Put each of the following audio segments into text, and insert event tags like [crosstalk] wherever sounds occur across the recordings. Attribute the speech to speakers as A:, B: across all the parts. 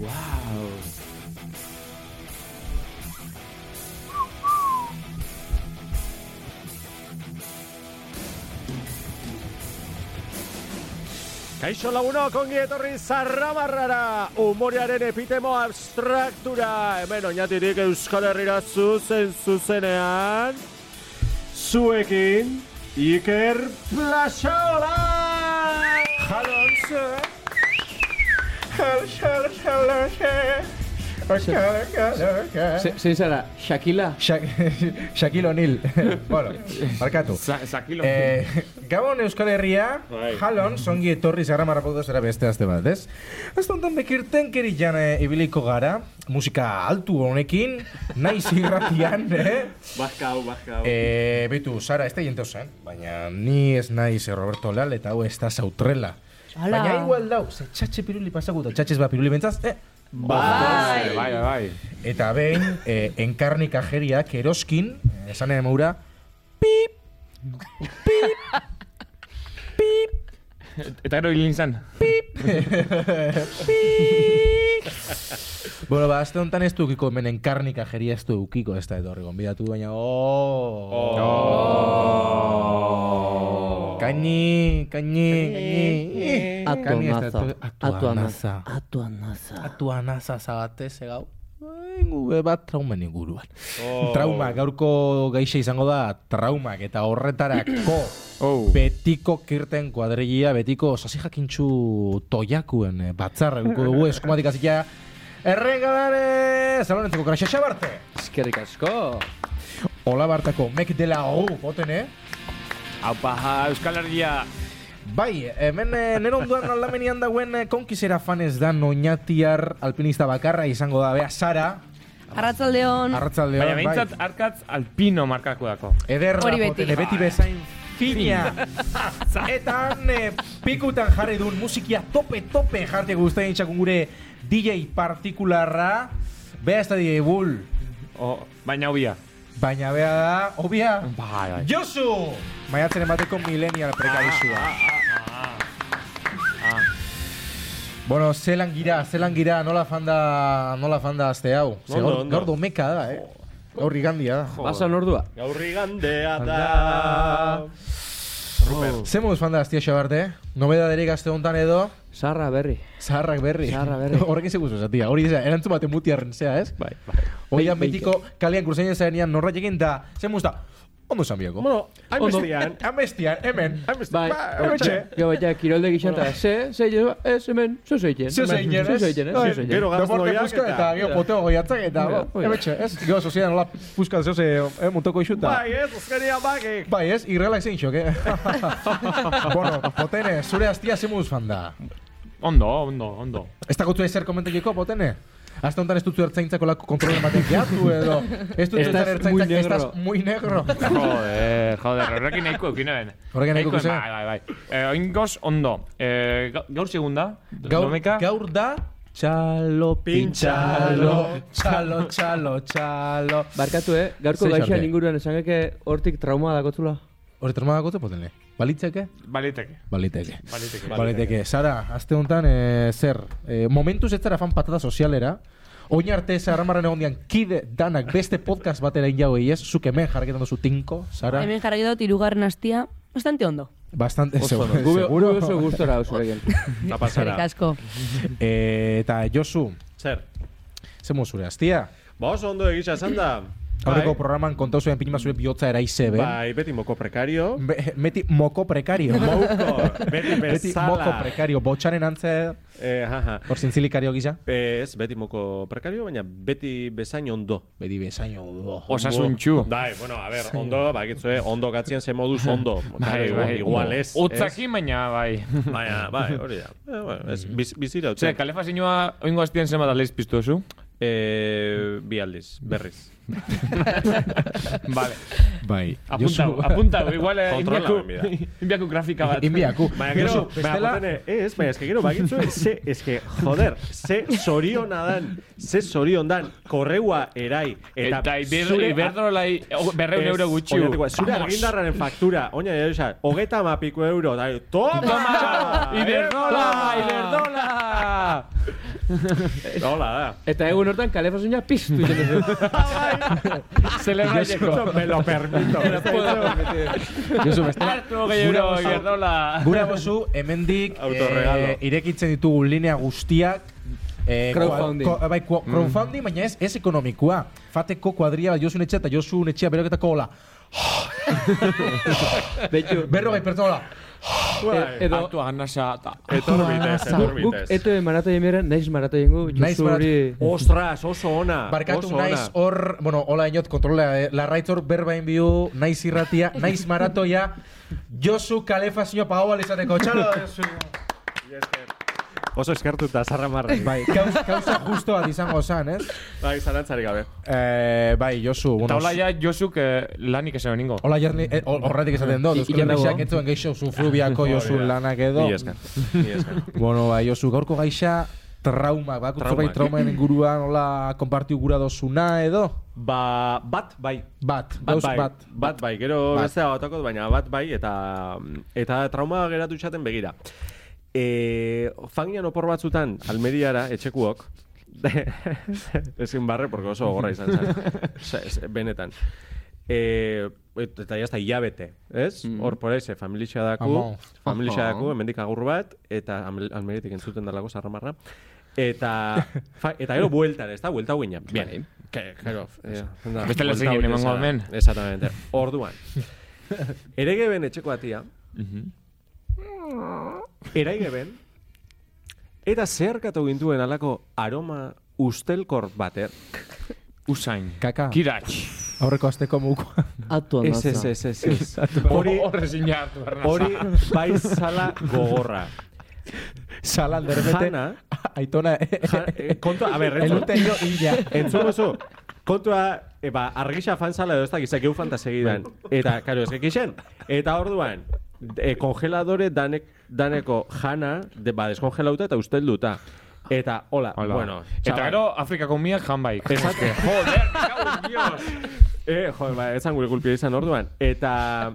A: ¡Wow! Kaixo lagunok ongi etorri zarrabarrara, umorearen epitemo abstraktura, hemen oinatirik Euskal Herrira zuzen zuzenean, zuekin, Iker Plasola! Jalon, zuek!
B: Ze- Zein zara, Shakila?
C: Sha- [laughs] Shaquille O'Neal. bueno, barkatu.
A: Zakilo.
C: Eh, Gabon Euskal Herria,
A: Bai.
C: jalon, songi etorri zara marrapotu zera beste azte bat, ez? Ez tontan bekirten kerian eh, ibiliko gara, musika altu honekin, naiz irratian, [laughs] eh?
A: Bazka hau, bazka hau.
C: Eh, beitu, Sara, ez da jentosan, baina ni ez naiz eh, Roberto Lal eta hau ez da sautrela.
D: Ala.
C: Baina igual dau, ze txatxe piruli pasaguta, txatxez bat piruli bentzaz, eh?
A: Bai! Bai, bai.
C: Eta behin, eh, enkarnik ajeriak eroskin, eh, esan ere maura,
E: Eta gero hil nintzen.
C: Bueno, ba, azte honetan ez dukiko, hemen enkarnik ajeria ez dukiko ez da etorri gonbidatu, baina oh. Kaini,
B: Eh.
C: kaini, kaini. Kaini ez da etorri- Atuanaza.
D: Atuanaza.
C: Atuanaza zabatez, eh, egau. Gube bat traumen inguruan. Trauma, gaurko gaixe izango da traumak eta horretarako
E: Oh.
C: betiko kirten kuadrilla, betiko sasi jakintxu toiakuen eh, batzarra eduko dugu eskumatik azia errengadare zalonetzeko kraxaxa barte.
B: Eskerrik asko.
C: Ola bartako mek dela hau boten, eh?
E: Aupa, Euskal Herria.
C: Bai, hemen eh, nero onduan aldamenian dauen eh, konkizera fanez da noñatiar alpinista bakarra izango da, bea Sara, bai.
D: Arratzaldeon.
C: arratzaldeon,
E: Baina behintzat harkatz alpino markako dako.
C: Ederra
D: Hori
C: joten,
D: beti.
C: beti bezain fina.
A: [laughs]
C: Eta han eh, pikutan jarri duen musikia tope tope jarte guztain txakun gure DJ partikularra. Bea ez da DJ Bull,
E: O, baina hobia.
C: baina bea da, obia,
E: Bai, bai.
C: Josu! Maiatzen emateko millennial
A: Ah,
C: prekarizua. Bueno, zelan gira, zelan gira, nola fanda, nola fanda azte hau. Ze
A: Ondo,
C: gaur-
A: ondo.
C: Gaur domeka da, eh? Gaur igandia da.
B: Basa nordua.
A: Gaurri gandea da.
C: Ze moduz fan da aztia xabarte? Nobedaderik azte honetan edo?
B: Sarra berri.
C: Zaharrak berri.
B: Zaharrak
C: [laughs]
B: berri.
C: Horrek ez eguzu zatia. Hori da, erantzun baten mutiarren zea, ez?
B: Bai, bai.
C: Hori da
B: Bai, bai.
C: mitiko kalian kurseinen zarenean norratekin da, ze muzta, ondo zan biako.
A: Bueno, hain
B: Ondo.
A: bestian.
C: Amestian, hemen.
B: Bai,
C: hortxe.
B: Gau baita, kirolde gixanta, ze, ze, ze, ez, hemen, zu zeiten.
C: Zio zeinen, ez?
B: Zu zeiten, ez?
C: Bai,
B: Zu zeiten.
A: Gero
C: Deporte
A: gaznoiak
C: puska eta gero poteo goiatzak eta
B: Oida, oida.
C: emetxe, ez? Gero sozian nola puskan zeo ze eh, montoko isuta.
A: Bai, ez, azkeria bakek.
C: Bai, ez? Irrelak zein xok, eh? [laughs] bueno, potene, zure aztia ze moduz fan da.
E: Ondo, ondo, ondo.
C: Ez da gotu ezer komentekiko, potene? Azte honetan ez dutu ertzaintzako lako kontrolen baten gehiatu edo Ez dutu
B: Estás
C: honetan ertzaintzak,
B: muy negro.
C: estás muy negro
E: Joder, joder, horrekin nahiko eukine ben.
C: Horrekin nahiko
E: Nahiko,
C: eukine.
E: Bai, bai, bai. Eh, oingoz, ondo. Eh, ga- gaur segunda,
C: Gaur,
E: domeka.
C: gaur da Txalo, pintxalo, txalo, txalo, txalo
B: Barkatu, eh? Gaurko
C: Ze
B: gaixan
C: jarte.
B: inguruan esan geke hortik trauma dakotzula.
C: Hori termada gote potenle? Balitzeke?
E: Baliteke.
C: Baliteke
E: Baliteke.
C: Baliteke, Sara, azte honetan eh, zer eh, Momentuz ez zara fan patata sozialera Oin arte zarramarren egon dian kide danak beste podcast batera injago ez Zuk hemen jarraketan duzu tinko, Sara
D: Hemen jarraitu dut irugarren astia. Bastante ondo.
C: Bastante,
B: Oso,
C: seguro,
B: gube,
C: seguro.
B: gube oso gustora oso egin.
A: Eta
D: Eskerrik
A: pasara.
D: asko.
C: Eh, eta Josu,
A: Zer.
C: ze mozure, aztia?
A: Ba oso ondo egitza esan da.
C: Aurreko
A: Bai.
C: programan eh? kontau zuen pinima zure bihotza eraize, ben?
A: Bai, beti moko prekario.
C: Be- Meti moko prekario.
A: [laughs] Moko, beti
C: Beti
A: bezala.
C: moko prekario. Botxaren antze,
A: Eh, jaja.
C: hor zintzilikario gisa.
A: Eh, Ez, beti moko prekario, baina beti bezain ondo.
C: Beti bezaino du.
E: Osasun txu.
A: Bai, bueno, a ver, ondo, bakitzue, ondo gatzien ze moduz ondo. Bai, bai, igual ez.
E: Utzaki, baina [laughs] bai.
A: ez? Baina, bai, hori da. Eh, bueno, ez, biz, bizira, utzi.
E: Zer, kalefa zinua oingo aztien zenbat aldiz piztu duzu?
A: Eh, bi aldiz, berriz.
E: [laughs] Vale.
C: Bai.
E: Apuntau, apuntau. Igual, eh,
A: Kontrola,
E: inbiaku,
A: benbida.
E: [laughs] inbiaku grafika bat.
C: Inbiaku.
A: Baina gero,
C: Josu,
A: baina
C: bestela-
A: potene, ez, baina eske gero bakitzu, ze, eske, joder, ze zoriona dan, ze zorion dan, korreua erai, eta,
E: Eta iber, iberdrolai [laughs] oh, berreun
A: Ez,
E: euro gutxi.
A: oinatekoa, Zure
E: [laughs]
A: argindarraren faktura, oina, oza, hogeta mapiko euro, da, toma!
E: Iberdola, Iberdola! Hola da.
B: Eta egun hortan kalefasuña piztu egiten duzu.
E: Celebraiteko. Me lo permito.
C: [laughs] Josu, bestela,
E: Hartu gehiago
C: gure bozu-
E: gerdola.
C: Gure bozu, hemendik
A: Autorregalo.
C: eh, irekitzen ditugu linea guztiak. eh,
B: Crowdfunding.
C: kua- ko- bai, kua- crowdfunding, baina ez, ez ekonomikoa. Fateko kuadria Josun etxea eta Josun etxea beroketako hola.
B: Beitu,
C: Berrogei bai, pertsona hola.
B: e- edo
E: Hartu anasa eta...
A: Etor bitez, etor
B: guk
A: bitez.
B: eto emanata jemera, naiz marata jengo,
C: Naiz
B: Josu hori...
A: Ostras, oso ona.
C: Barkatu
A: oso
C: naiz
A: ona.
C: hor, bueno, hola inot kontrola, eh, larraitz hor berbain biu, naiz irratia, naiz maratoia, Josu kalefazio paoa lezateko, txalo,
A: [laughs]
C: Josu!
A: Oso eskertuta, zarra marra.
C: Bai, kauz, kauza justo bat izango zan, ez?
A: Bai, zarantzarik gabe.
C: Eh, bai, Josu, bueno...
E: Eta hola ja, Josuk eh, lanik esan honingo.
C: Hola jarni, eh, hor- horretik esaten dut,
B: I-
C: Euskal
B: ikernago.
C: Herriak entzuen geixo zufrubiako Josu
A: Hori da.
C: lanak edo.
A: Ni esker. Ni esker.
C: Bueno, bai, Josu, gaurko gaixa trauma, bak,
A: Traumak.
C: bai traumaen inguruan, hola, kompartiu gura dozuna edo?
A: Ba, bat, bai.
C: Bat,
A: Bat
C: gauz
A: bai,
C: bat.
A: bat bai, gero
C: Bat.
A: beste batako, baina bat bai, eta, eta trauma geratu txaten begira. E, fangian opor batzutan, Almeriara, etxekuok, [laughs] ezin barre, porque oso gorra izan zen,
C: [laughs]
A: Osa, ez, benetan. E, et- eta jazta hilabete, ez?
C: Mm.
A: Hor poraize, familixea daku,
C: Amon.
A: familixea daku, hemendik agur bat, eta Am- almeritik entzuten dalako zarramarra.
C: [laughs]
A: Eta, fa, eta gero bueltan, ez da, buelta guinean.
C: Bai.
A: Bien, que, claro, eh, da,
E: Beste
A: buelta
E: lasaikin
A: hori
E: emango
A: bezala.
E: hemen.
A: Exactamente.
E: [laughs]
A: Orduan. Eregeben etxeko atia. Eraigeben. Eta zeharkatu gintuen alako aroma ustelkor bater.
E: Usain.
C: Kaka.
E: Kiratx.
C: Aurreko asteko mukoa.
F: Atuan
A: Ez, ez, ez, ez, ez. Hori,
E: [laughs] Hori... Horre zina hartu behar nasa.
A: hori bai zala gogorra.
C: Salan derbete.
A: Jana,
C: [laughs] Aitona.
A: ja, eh, kontua, a ber, entzun.
C: Elurte
A: [laughs]
C: jo illa.
A: Entzun oso, kontua, eba, argisa fanzala edo ez dakit, geu fanta segidan.
E: Bai.
A: Eta, karo, ez gekixen. Eta orduan, e, kongeladore danek, daneko jana, de, ba, deskongelauta eta ustelduta. Eta, hola,
E: Hola.
A: bueno.
E: Eta
A: chaval.
E: gero Afrikako miak bai. janbaik.
A: Esate.
E: [laughs] Joder, cago en Dios.
A: Eh, joder, ba, etzan gure kulpia izan orduan. Eta...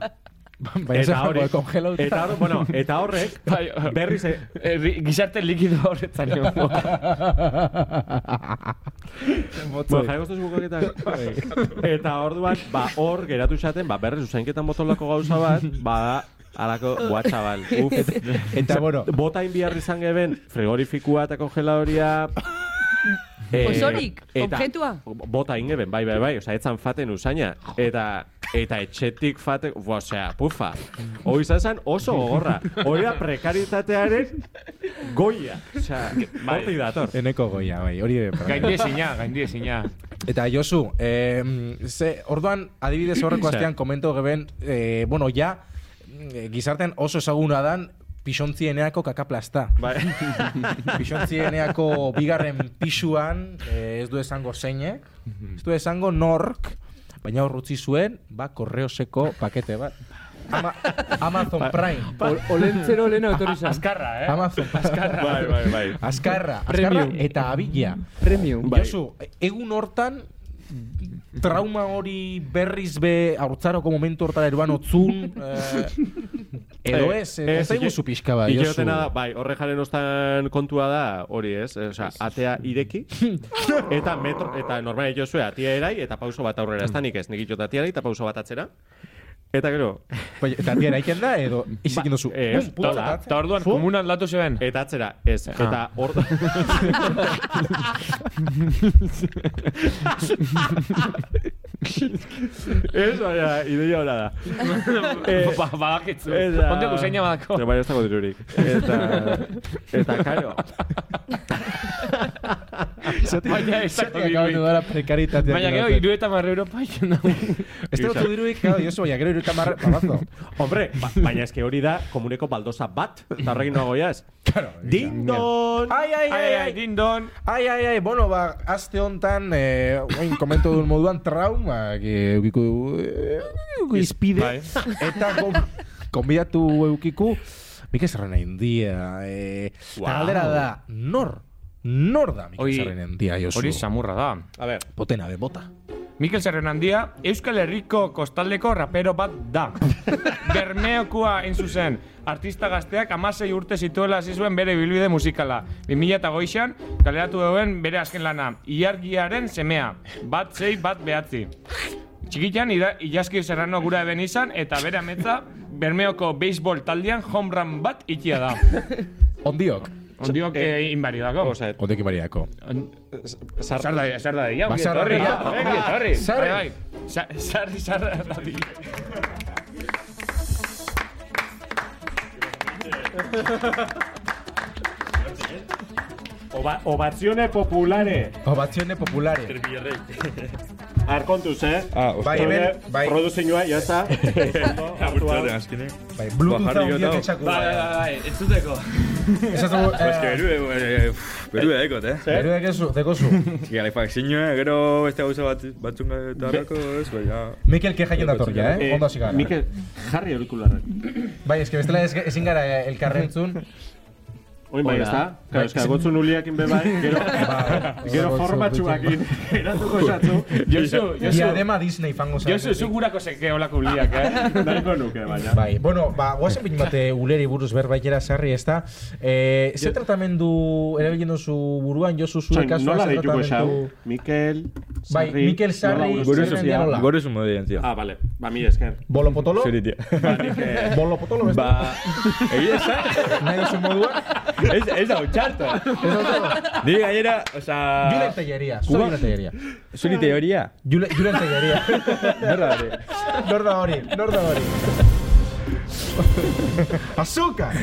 C: Baina zer jokoa, kongela uta.
A: eta, hor- bueno, eta horrek,
E: Bai,
A: berriz,
E: [laughs]
A: e,
E: Herri- Gizarte likido horretan [laughs] egon.
A: Bueno, jarriko zuz
E: Bai.
A: Eta orduan, ba, hor geratu zaten, ba, berriz usainketan botolako gauza bat, ba, alako, buah, txabal. Uf,
E: [laughs]
C: Eta, bueno.
A: bota inbiar izan geben, frigorifikua eta kongeladoria... eh,
D: Osorik, objetua.
A: Bota ingeben, bai, bai, bai, osea, etzan faten usaina. Eta, eta etxetik fate, Bua, osea, pufa. Hoi izan zen oso gogorra. Hori da prekaritatearen goia. Osea,
E: Bai.
A: hortik dator.
C: Eneko goia, bai, hori ere. bai.
E: Gaindi ezina, gaindi ezina.
C: Eta Josu, eh, mm, ze, orduan adibidez horreko astean komento geben, eh, bueno, ja, mm, eh, gizartean oso ezaguna dan, pixontzieneako kakaplasta.
A: Bai.
C: Pixontzieneako bigarren pisuan, eh, ez du esango zeine,
A: Mhm.
C: ez du esango nork, baina hor utzi zuen, ba, korreoseko pakete bat. Ama, Amazon Prime.
B: Ol- Olentzero lehena etorri zan.
E: Azkarra, eh?
C: Amazon Azkarra.
A: Bai, bai, bai.
C: Azkarra. Azkarra
B: Premium.
C: eta abila.
B: Premium.
A: Bai.
C: Josu, egun hortan trauma hori berriz be aurtzaroko momentu hortara eruan otzun eh, edo
A: Eh,
C: ez, eh, ez zaigu
A: ike-
C: zu pixka bat,
A: ike
C: Josu.
A: otena da, bai, horre jaren ostan kontua da, hori ez, osea, atea ireki,
C: [laughs]
A: eta metro, eta normalen Josue atea erai, eta pauso bat aurrera, ez da nik ez, nik ikiot atea erai, eta pauso bat atzera, eta gero,
C: Bai, Eta tira eraiken da edo izikin duzu.
A: eh,
C: Pum, putz,
A: hola.
C: eta-
E: Eta orduan,
A: Fu.
E: komunan latu zeben. [laughs]
A: eta atzera,
C: Ah.
A: ez, eta hor...
C: [laughs]
A: ez, baina, ideia hona da. Eh,
E: Ba- Badakitzu.
A: Eta...
E: Ponte guzeina badako.
A: Eta bai, ez dago dirurik. Eta... eta, karo.
E: [laughs] Baina ez
C: Zergatik
E: dago
C: akabatu
E: diruik.
C: dara prekaritatea.
E: Baina gero irueta marre Europa egin da.
C: Ez dago tu diruik, Este claro, Josu, baina gero iruta marre, babazo.
A: Hombre, ba, baina eske hori da komuneko baldosa bat. Eta horrekin nago jaz.
C: Claro.
A: Dindon!
C: Ai, ai, ai, ai,
E: dindon.
C: Ai, ai, ai, bueno, ba, aste honetan, eh, oin komento duen moduan, trauma, eukiko dugu, eh, edukigu izpide,
E: Bai.
C: [laughs] eta kon, konbidatu eukiku, Mikel Sarrena india, eh, eta
A: Wow.
C: galdera da, nor, nor da Mikel
E: Hori-
C: Sarrena india, Josu?
E: Hori samurra da.
A: A ver,
C: Potena, de bota.
E: Mikel Zerrenandia, Euskal Herriko kostaldeko rapero bat da. Bermeokoa hain zuzen, artista gazteak amasei urte zituela hasi zuen bere bilbide musikala. 2008an, kaleratu duen bere azken lana, iargiaren semea, bat zei, bat behatzi. Txikitan, ira, Ilaski Serrano gura eben izan, eta bere ametza, Bermeoko beisbol taldean home run bat itia da.
C: Ondiok.
E: Ondiok eh, inbaridako.
A: Osa,
C: Ondiok imariako.
A: sar...
E: Sarda, sarda, ya,
C: Ba,
E: ongi
C: sarda
E: etorri,
C: dira.
E: ja, venga, etorri.
C: Sarri.
E: Bai, bai. Sa- Sarri, sarda, [laughs] dadila.
F: Oba, ovazione popolare.
C: Obazione populare.
F: Arkontuz, eh?
G: Ah,
C: Bai,
G: ostia.
C: hemen, bai,
F: Produzinua, jazta.
C: [laughs]
G: Apurtzaren azkenean.
C: bai,
G: Bajarri
C: bluetootha
G: gota.
C: ondiok etxako.
E: Bai, bai, bai, bai, entzuteko.
F: [laughs]
C: Ezazu,
G: Eske,
C: eh,
G: berue, eh, pff, berue dekot, eh?
C: beruak ezu, dekozu.
G: Galefakzinua, gero beste gauza este bat, batzun gabetarako, ez, bai, ja.
C: Mikel kejaien dator, ja, eh? Ondo hasi gara.
F: Mikel, jarri aurikularrak.
C: Bai, eske bestela ez- ezin gara eh, elkarrentzun.
F: Oin bai, ez da? Karo, eska, gotzun uliakin bebai,
C: [laughs]
F: gero, gero
C: Gotzu,
F: formatxuakin. Eratuko esatzu.
E: Josu, Josu,
C: Diadema Disney fango zara.
E: Josu, zu gurako seke olako uliak, eh?
F: Daiko nuke, baina.
C: Bai, bueno, ba, guazen pin bate uleri buruz berbaitera sarri, ez da? Eh, ze tratamendu erabilen duzu buruan, Josu, zure
F: Osain,
C: kasua,
F: nola
C: ze
F: deituko esau?
C: tratamendu...
F: Mikel, Sarri...
C: Bai, Mikel Sarri, Gure
F: nola gure
C: zuzia.
F: sozial.
C: Hola.
G: Gure zumo dien, tio.
F: Ah, bale, ba, mi esker.
C: Bolo potolo?
G: Zuri, tio.
A: [laughs]
G: [laughs]
C: Bolo potolo, beste?
G: Ba, egia esan,
C: Nahi duzu moduan?
G: ez, ez da utxarto.
C: Ez dut,
G: Nire gainera, oza...
C: Julen Telleria, zu Julen Telleria.
G: Zuri teoria.
C: Jule- Julen Telleria.
G: [laughs] Berra, ere.
C: Nor da hori, nor da hori. Azúcar!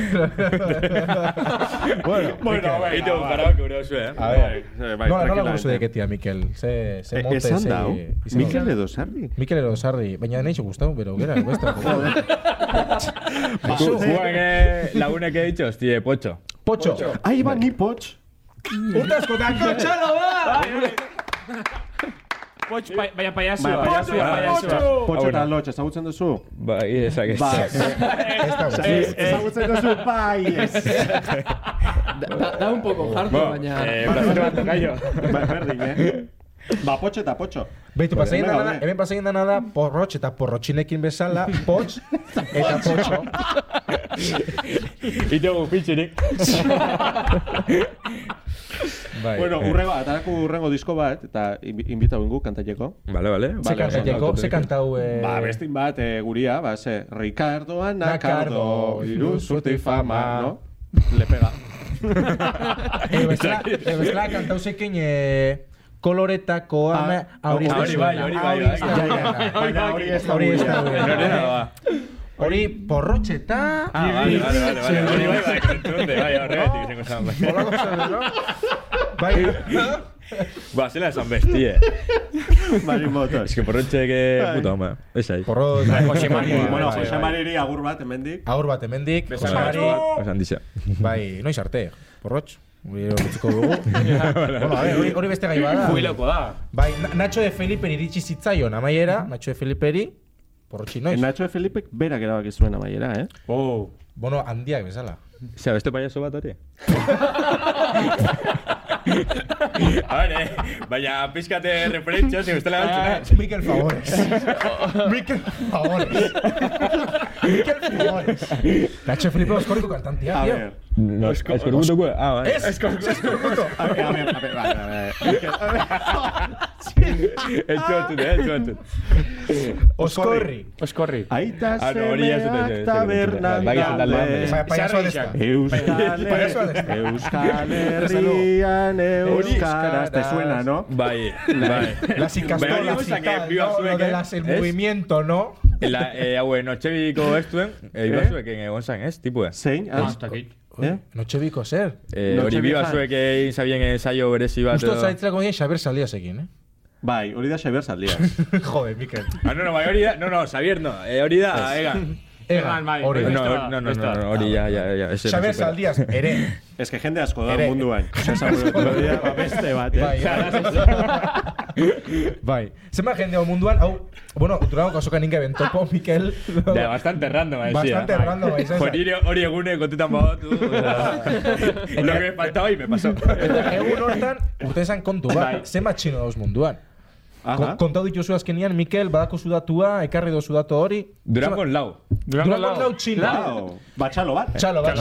G: [laughs]
C: bueno,
G: Bueno, bai, Ito, parako, gure oso, eh?
C: A ver,
F: Eh, bai,
C: nola, nola
F: tranquilamente.
C: guzu deketia, Mikel? Ze, ze
F: Eh,
C: monte,
F: Esan
C: ze-
F: dau,
C: izan
F: Mikel edo Sarri?
C: Mikel ero sarri, baina nahi gustau, bero, gera, beste.
G: Ah,
C: Zu,
G: Guak, eh, lagunek he dicho, hostie, pocho.
C: Potxo,
F: Ahí va Ah, ni poch.
E: Poch, bai- baina paiazua,
F: Bai,
E: paiazua, paiazua.
F: Poch
G: bueno.
F: eta lotx, ezagutzen duzu?
G: Ba, egia esan, ez.
F: Ba,
C: ez dago.
E: Eh, eh,
F: ezagutzen duzu, bai, ez.
B: Da, da un poco hartu,
G: Bueno,
B: baina...
G: eh, brazo bat tokaio.
F: Ba, berdin, eh? Ba, potx eta potxo.
C: Beitu, pasaien
F: Venga,
C: dana,
F: gaude.
C: hemen pasaien dana da, porrotx eta porrotxinekin
G: [laughs]
C: bezala, potx eta potxo.
G: Ito gupitxerik.
C: Bai.
F: Bueno, urre bat, atarako urrengo disko bat, eta inbi- inbitau ingu kantateko.
G: Eh, Vale, vale.
C: ze kantateko, ze kantau... eh,
F: Ba, bestin bat, eh, guria, ba, ze, Ricardo Anacardo,
C: Nacardo,
F: iru zurti fama,
C: fama.
F: no? Le pega.
C: Eh, bezala, eh, bezala kantau zekin, eh, koloretako ama,
F: Ah,
C: hori ez da
G: hori bai,
C: zuena.
G: hori bai,
C: Hori ez da zuena.
G: bai.
F: [laughs] Baina hori ez da
C: Hori ez da
F: guria.
G: Norena
C: zuena.
G: da, ba.
C: Hori porrotx eta...
G: Ah, vale, vale, vale, vale. Hori bai, bai, kontunde, bai, [laughs] horregatik izango zen, bai.
C: Hola, gauza, no? Bai,
G: Ba, zela esan bestie.
F: Mari motor.
G: [laughs] Es que porrotxe que... Puta, home. Ez ahí.
C: Porro
E: Jose Mari,
F: Bueno,
E: bai,
F: Jose
E: bai.
F: Mariri agur bat, hemendik.
C: Agur bat hemendik,
E: Besarka
C: Osamari,
G: Osan dixe.
C: bai, noiz arte, porrotx,
G: [laughs]
C: hori ero utziko dugu. bueno, a ver, hori- hori beste gai bada.
E: Jubiloko da.
C: Bai, Na- Nacho de Feliperi iritsi zitzaion, amaiera, Nacho de Feliperi, porrotxi noiz.
F: Eh, Nacho Felipek berak erabaki zuen amaiera, eh?
E: Oh.
C: Bono, handiak bezala.
G: Zer, beste payaso bat hori? [laughs] A ver, eh, baina pizkate referentzia, si eh? bestela galtzen.
C: Mikel Favores. Mikel Favores. Mikel Favores. Nacho de Felipe oskorriko kantantia, ¿eh,
F: A
C: tío.
F: ver.
G: No, eskorbutuko, ah, bai.
C: Ez, eskorriko.
F: A ver, a ver, a ver, a ver, a ver.
G: Etxo entzut, eh, etxo entzut.
C: Oskorri.
E: Oskorri.
F: Aita
G: Ah, no, hori jasotzen zen,
F: semeak
G: ez dakit entzuten.
F: tabernan
G: Bai, bakizun taldean,
F: daude.
G: baina-
C: Bai, Payaso
E: Sarri
C: desta.
E: izan.
F: Euskal,
C: Payasoa da ez da.
F: Eh, Euskal Herrian Euskaraz. Te suena, no?
G: Bai, bai.
C: Las
G: Baina hori
C: ikastolas y
G: gozak, eh,
C: tal,
G: biba
C: ¿no? Lo
G: zuek,
C: de
G: eh.
C: las el
G: Ez?
C: movimiento, ¿no?
G: La, eh, hauen, notxebiko estuen, eh, biba
F: Eh?
G: zuek egon zan, ez, tipue.
F: Zein?
E: Ah,
F: Az-
E: ez dakit.
F: Eh?
C: Notxebiko zer?
G: Eh, hori
F: Notxebiko.
G: biba zuek egin zabien ensaio berezi bat.
C: Ah. Justo
G: edo-
C: zaitzerako nien Xaber Saliasekin,
F: [laughs]
C: eh?
F: Bai, hori da Xabier [laughs] Zaldia.
C: Jode, Mikel.
G: Ah, no, no, bai, hori da, no, no, Xavier no, eh, hori da, egan.
E: Egan, bai.
C: hori.
G: No,
E: Beste
G: no,
E: bat,
G: no, no,
E: beste
G: no,
E: bat.
G: no, hori
C: Ah,
G: ja, ja, ja. ese no
C: Xaber
G: supera.
C: Zaldiaz,
F: [laughs]
C: ere.
F: Ez que jende asko da
C: Ere.
F: [laughs] munduan. Esan gure teoria, ba, beste bat,
C: Bai,
F: eh?
C: bai. Zenba jende hau munduan, hau, bueno, durago kasoka ninka bentopo, Mikel.
G: Ja, bastante random, eh, bai,
C: Bastante random, bai, izan zen.
G: Hori, hori egune
C: [laughs]
G: kontetan badatu. o sea, Lo que me faltaba y me pasó.
C: Egun hortan, urte esan kontu bat, zenba txino dauz munduan.
F: Aha.
C: Ko- Kontatu dituzu azkenian, Mikel, badako datua, ekarri dozu datua hori.
G: Durangon lau.
C: Durango
E: Durango lau.
C: lau txila.
F: Wow. Batxalo bat.
C: Txalo bat.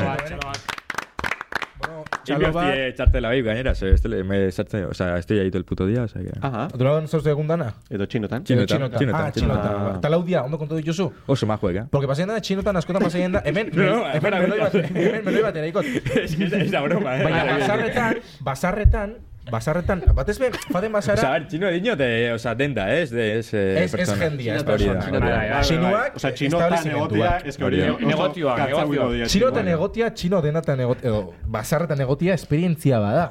G: Txalo
C: bat.
G: bat. Txartela bai, gainera, ze, este, le- me sartzen, o sea, estoy ahí todo el puto día, o sea, que...
F: Aha.
C: Durango zortzi egun dana?
F: Edo txinotan.
G: Txinotan,
C: Txinotan.
G: txinotan,
C: Ah,
G: txinotan.
C: txinotan. Eta laudia, ondo kontatu dituzu.
G: Oso majoek, [laughs] eh?
C: Porque pasean da txinotan askotan pasean da, hemen,
G: No, no,
C: hemen
G: espera,
C: meloi bat,
G: espera.
C: hemen meloi bat eraikot.
G: Es que es la broma, eh.
C: Baina basarretan, basarreten, basarretan, batez ben, faden
G: O sea, a
C: basara,
G: ver, chino de niño, de, o sea, denda, ¿eh? Es de es, eh,
C: Ez- ez jendia, ez
G: Hori da,
C: pertsona.
G: hori da.
E: Bai, bai.
C: txinuak,
F: Osa, txinotan egotea,
C: establezimenduak.
F: eske hori
G: Hori da.
F: oso
E: Negozioak,
F: katzabuilo
E: negozioak.
F: dira
C: Txinotan
F: txinoak.
C: egotia, txino denatan egotia, edo bazarretan egotia, esperientzia bada.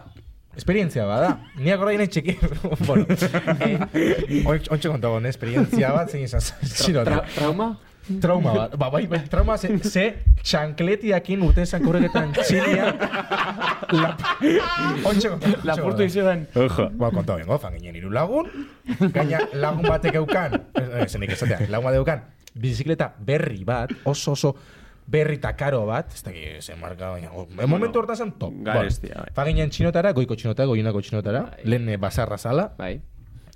C: Esperientzia bada. Ni akora ginen txiki. [laughs] bueno, eh, oin- ontxe kontago, ne, esperientzia bat, zein izan zen [laughs] txinotan.
B: Trauma?
C: Trauma bat. Ba, bai, bai, trauma ze, ze txankletiakin urten zankurreketan txilia. La, ontxe kontago.
E: Lapurtu izedan.
G: Ojo.
C: Ba, konta bengo, fan ginen hiru lagun. Gaina lagun batek eukan, eh, zenik esatea, lagun batek eukan, bizikleta berri bat, oso oso berri eta karo bat, ez dakit zen marka, baina, o, momentu hortan zen top.
F: garestia, bai.
C: fan ginen txinotara, goiko txinotara, goiunako txinotara, lehen eh, bazarra zala,
B: Bai.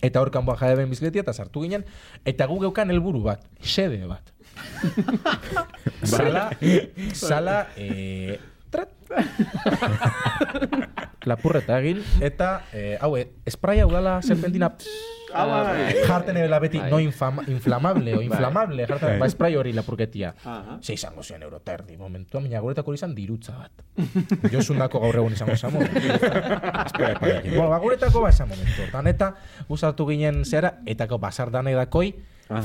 C: Eta hor kanboan jade ben bizikletia eta sartu ginen. Eta gu geukan helburu bat, sede bat. sala, sala, eh, tret. Lapurreta egin, eta, eh, hau, eh, espraia udala serpentina pss,
B: Bai.
C: jarten ebela beti, no infama, inflamable, o inflamable, jarten, ba, esprai hori lapurketia. Ze izango zen euro terdi, momentua, baina guretako hori izan dirutza bat. Josundako gaur egun izango zamo.
G: [laughs]
C: bueno, ba, guretako ba esan momentu. Hortan eta, guzartu ginen zera, etako basardan edakoi,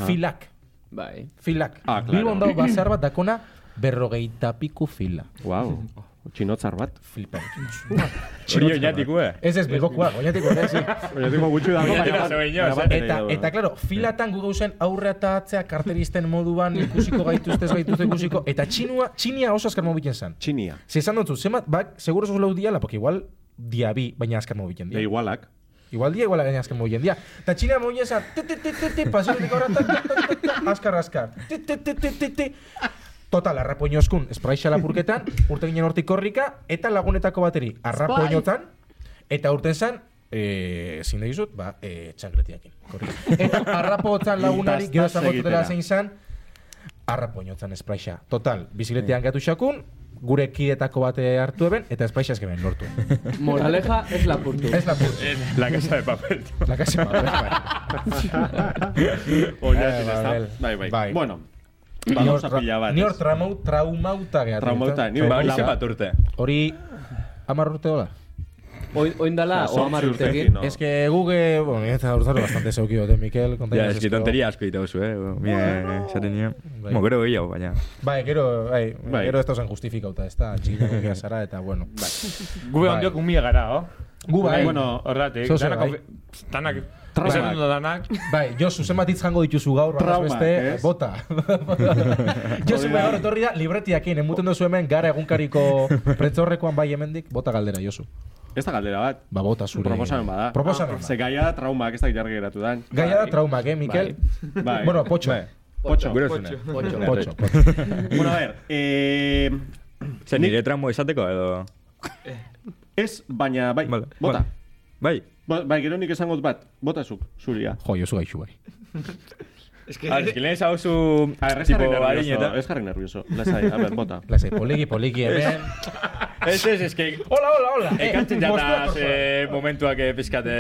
C: filak,
B: Bai.
C: filak.
F: Ah, claro.
C: Bilbon dago bazar bat dakona, berrogeita piku fila.
F: Wow. Txinotzar bat.
C: Flipa.
F: eh.
G: Hori oñatiko, eh.
C: Ez ez, bilbokoa, goiatiko,
F: [laughs]
C: ez, ez.
F: Baina tengo gutxu dago.
G: Baina
F: baina
G: tengo
F: bat-
G: zebeño,
F: baina
G: eh.
F: bat ere
C: Eta,
F: dago.
C: eta, klaro, filatan gu gauzen aurre eta atzea karteristen moduan ikusiko gaituzte, ez gaituzte ikusiko. Eta txinua, txinia oso azkar mobilen zen.
F: Txinia.
C: Si esan dutzu, zenbat, bak, seguro zozu lau diala, porque igual dia bi, baina azkar mobilen
F: E
C: dia.
F: igualak.
C: Igual dia, igual gaina azkar mobilen dia. Eta txina mobilen zen, te, te, te, te, te, pasionetik aurra, ta, ta, ta, ta, ta, azkar, azkar. Te, te, te, te, te, te. Total, arrapoinoskun, espraixa lapurketan, urte ginen hortik korrika, eta lagunetako bateri, arrapoinotan, eta urten zen, eh, ezin da dizut, ba, eh, txangletiakin. Korrika. Eta arrapotan lagunari, gero
F: Tastas
C: esan botzutela
F: egitera.
C: zein zen, arrapoinotan espraixa. Total, bizikletean gatu xakun, gure kidetako bate hartu eben, eta espraixa ezkeben lortu.
B: Moraleja ez lapurtu.
C: Ez lapurtu.
F: Eh.
G: En La casa de papel. tío.
C: La kasi
F: Oñatin,
C: Eh,
F: ez da?
C: Babel.
F: Bai, bai.
C: Bai.
F: Bueno. Vamos a pila bat.
C: Ni hor
F: ez?
C: traumau, traumauta gehatik.
F: Traumauta, ni
G: Ba,
F: hor
G: hori bat urte.
C: Hori, amar urte dola?
B: Oin- Oindala, o
F: Zortzi
B: amar
F: urtekin,
B: urtekin.
F: no?
C: Ez que guge, bueno, eta urtaro bastante zeuki dute, Mikel, kontainez
G: Ja, eski
C: asko.
G: tonteria asko ditu zu, eh. Mie, esaten nien.
C: Bai.
G: Mo, gero gehiago, baina.
C: Bai, gero, bai,
F: Bai.
C: gero ez da justifikauta, ez da, txikitako gea zara, eta
F: [laughs]
C: bueno.
E: Gube
C: Bai.
E: ondiok umia gara, oh?
C: Gu bai,
E: Bueno, horretik.
C: Zozer,
E: Danak...
C: bai.
E: konfi- Danak...
F: Traumak.
E: Esan dut danak.
C: Bai, Josu, zenbat hitz jango dituzu gaur,
F: Trauma,
C: Trauma, beste,
F: ez?
C: bota.
F: [laughs]
C: Josu, bai, gaur etorri da, libretiakin, emuten duzu hemen, gara
F: [laughs]
C: egunkariko prentzaurrekoan bai hemendik, bota galdera, Josu.
F: Ez da galdera bat.
C: Ba, bota zure.
F: Proposamen bada. Ah,
C: Proposamen bada.
F: Ze gaia da traumak, ez da jarri geratu dan.
C: Gaia da traumak, eh, Mikel?
F: Bai.
C: Bueno, potxo.
F: Potxo.
G: Gero zuna.
C: Potxo, potxo.
F: Bueno, a ver. Eh,
G: Zer, nire tramo esateko edo...
F: ez, baina, bai,
G: Vale,
F: bota.
G: vale. Bai.
F: Ba- Bai, gero nik esango dut bat. Bota zuk, zuria.
C: Jo, Josu gaixu bai.
G: A ver, eski lehen esau zu...
F: A ver, ez
G: Tipo,
F: jarri nervioso.
G: harineta.
F: Ez jarri nervioso. Lazai, a ver, bota.
C: Lasai, poliki, poliki, eh. hemen.
G: Ez, ez, eski...
F: [laughs]
C: Hola, hola, hola. Eh,
G: Ekartzen jataz eh, momentuak eh, pizkate...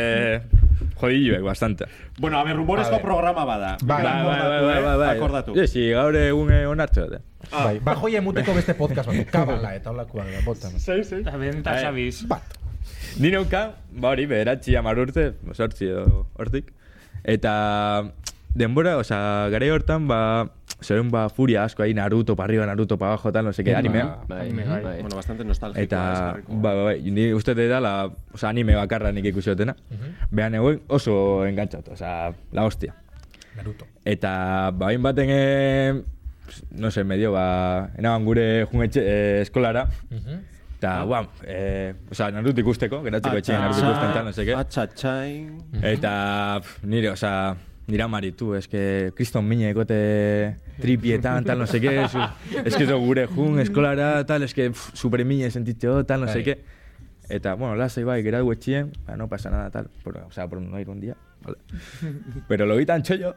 G: Jodilloek, eh, bastante.
F: Bueno, a ver, rumorezko
C: A ver.
F: programa bada.
C: Bai,
G: Bai, bai, bai,
F: Akordatu,
G: bai,
F: eh?
G: bai, bai.
F: Akordatu.
G: Yes, i gaur egun eh, onartze bat. eh.
C: Bai, bajoia emuteko beste este podcast eh, bat, kabala eta holakoa, bota.
E: Eta benta xabiz.
G: Ni neuka, ba hori, beratzi amar urte, sortzi edo hortik. Eta denbora, osea, gara hortan, ba, zeuen ba furia asko, ahí Naruto, pa arriba, Naruto, pa abajo, tal, no sé qué, animea.
F: ba,
B: Bai, bai.
F: Bueno, bastante nostálgico.
G: Eta, ba, ba, bai, ni uste dut dela, osea, anime bakarra nik ikusiotena. Behan egoen oso engantzat, osea, la hostia.
C: Naruto.
G: Eta, ba, hain baten, eh, no sé, medio, ba, enaban gure jungetxe eh, eskolara, Eta, guam, eh, osea, Naruto ikusteko, geratzeko etxean Naruto ikusten, tal, no sé qué.
F: Atxatxain.
G: Eta pf, nire, osea, nire amari, tu, eske, kriston mine ekote tripietan, tal, no seke, eske, eske, edo gure jun, eskolara, tal, eske, pf, super mine sentitzeo, tal, no
C: Bai.
G: seke. Eta, bueno, lasai bai, geratu etxien, ba, no pasa nada, tal. Por, o sea, por no ir un día, ¿vale? Pero lo vi tan chollo.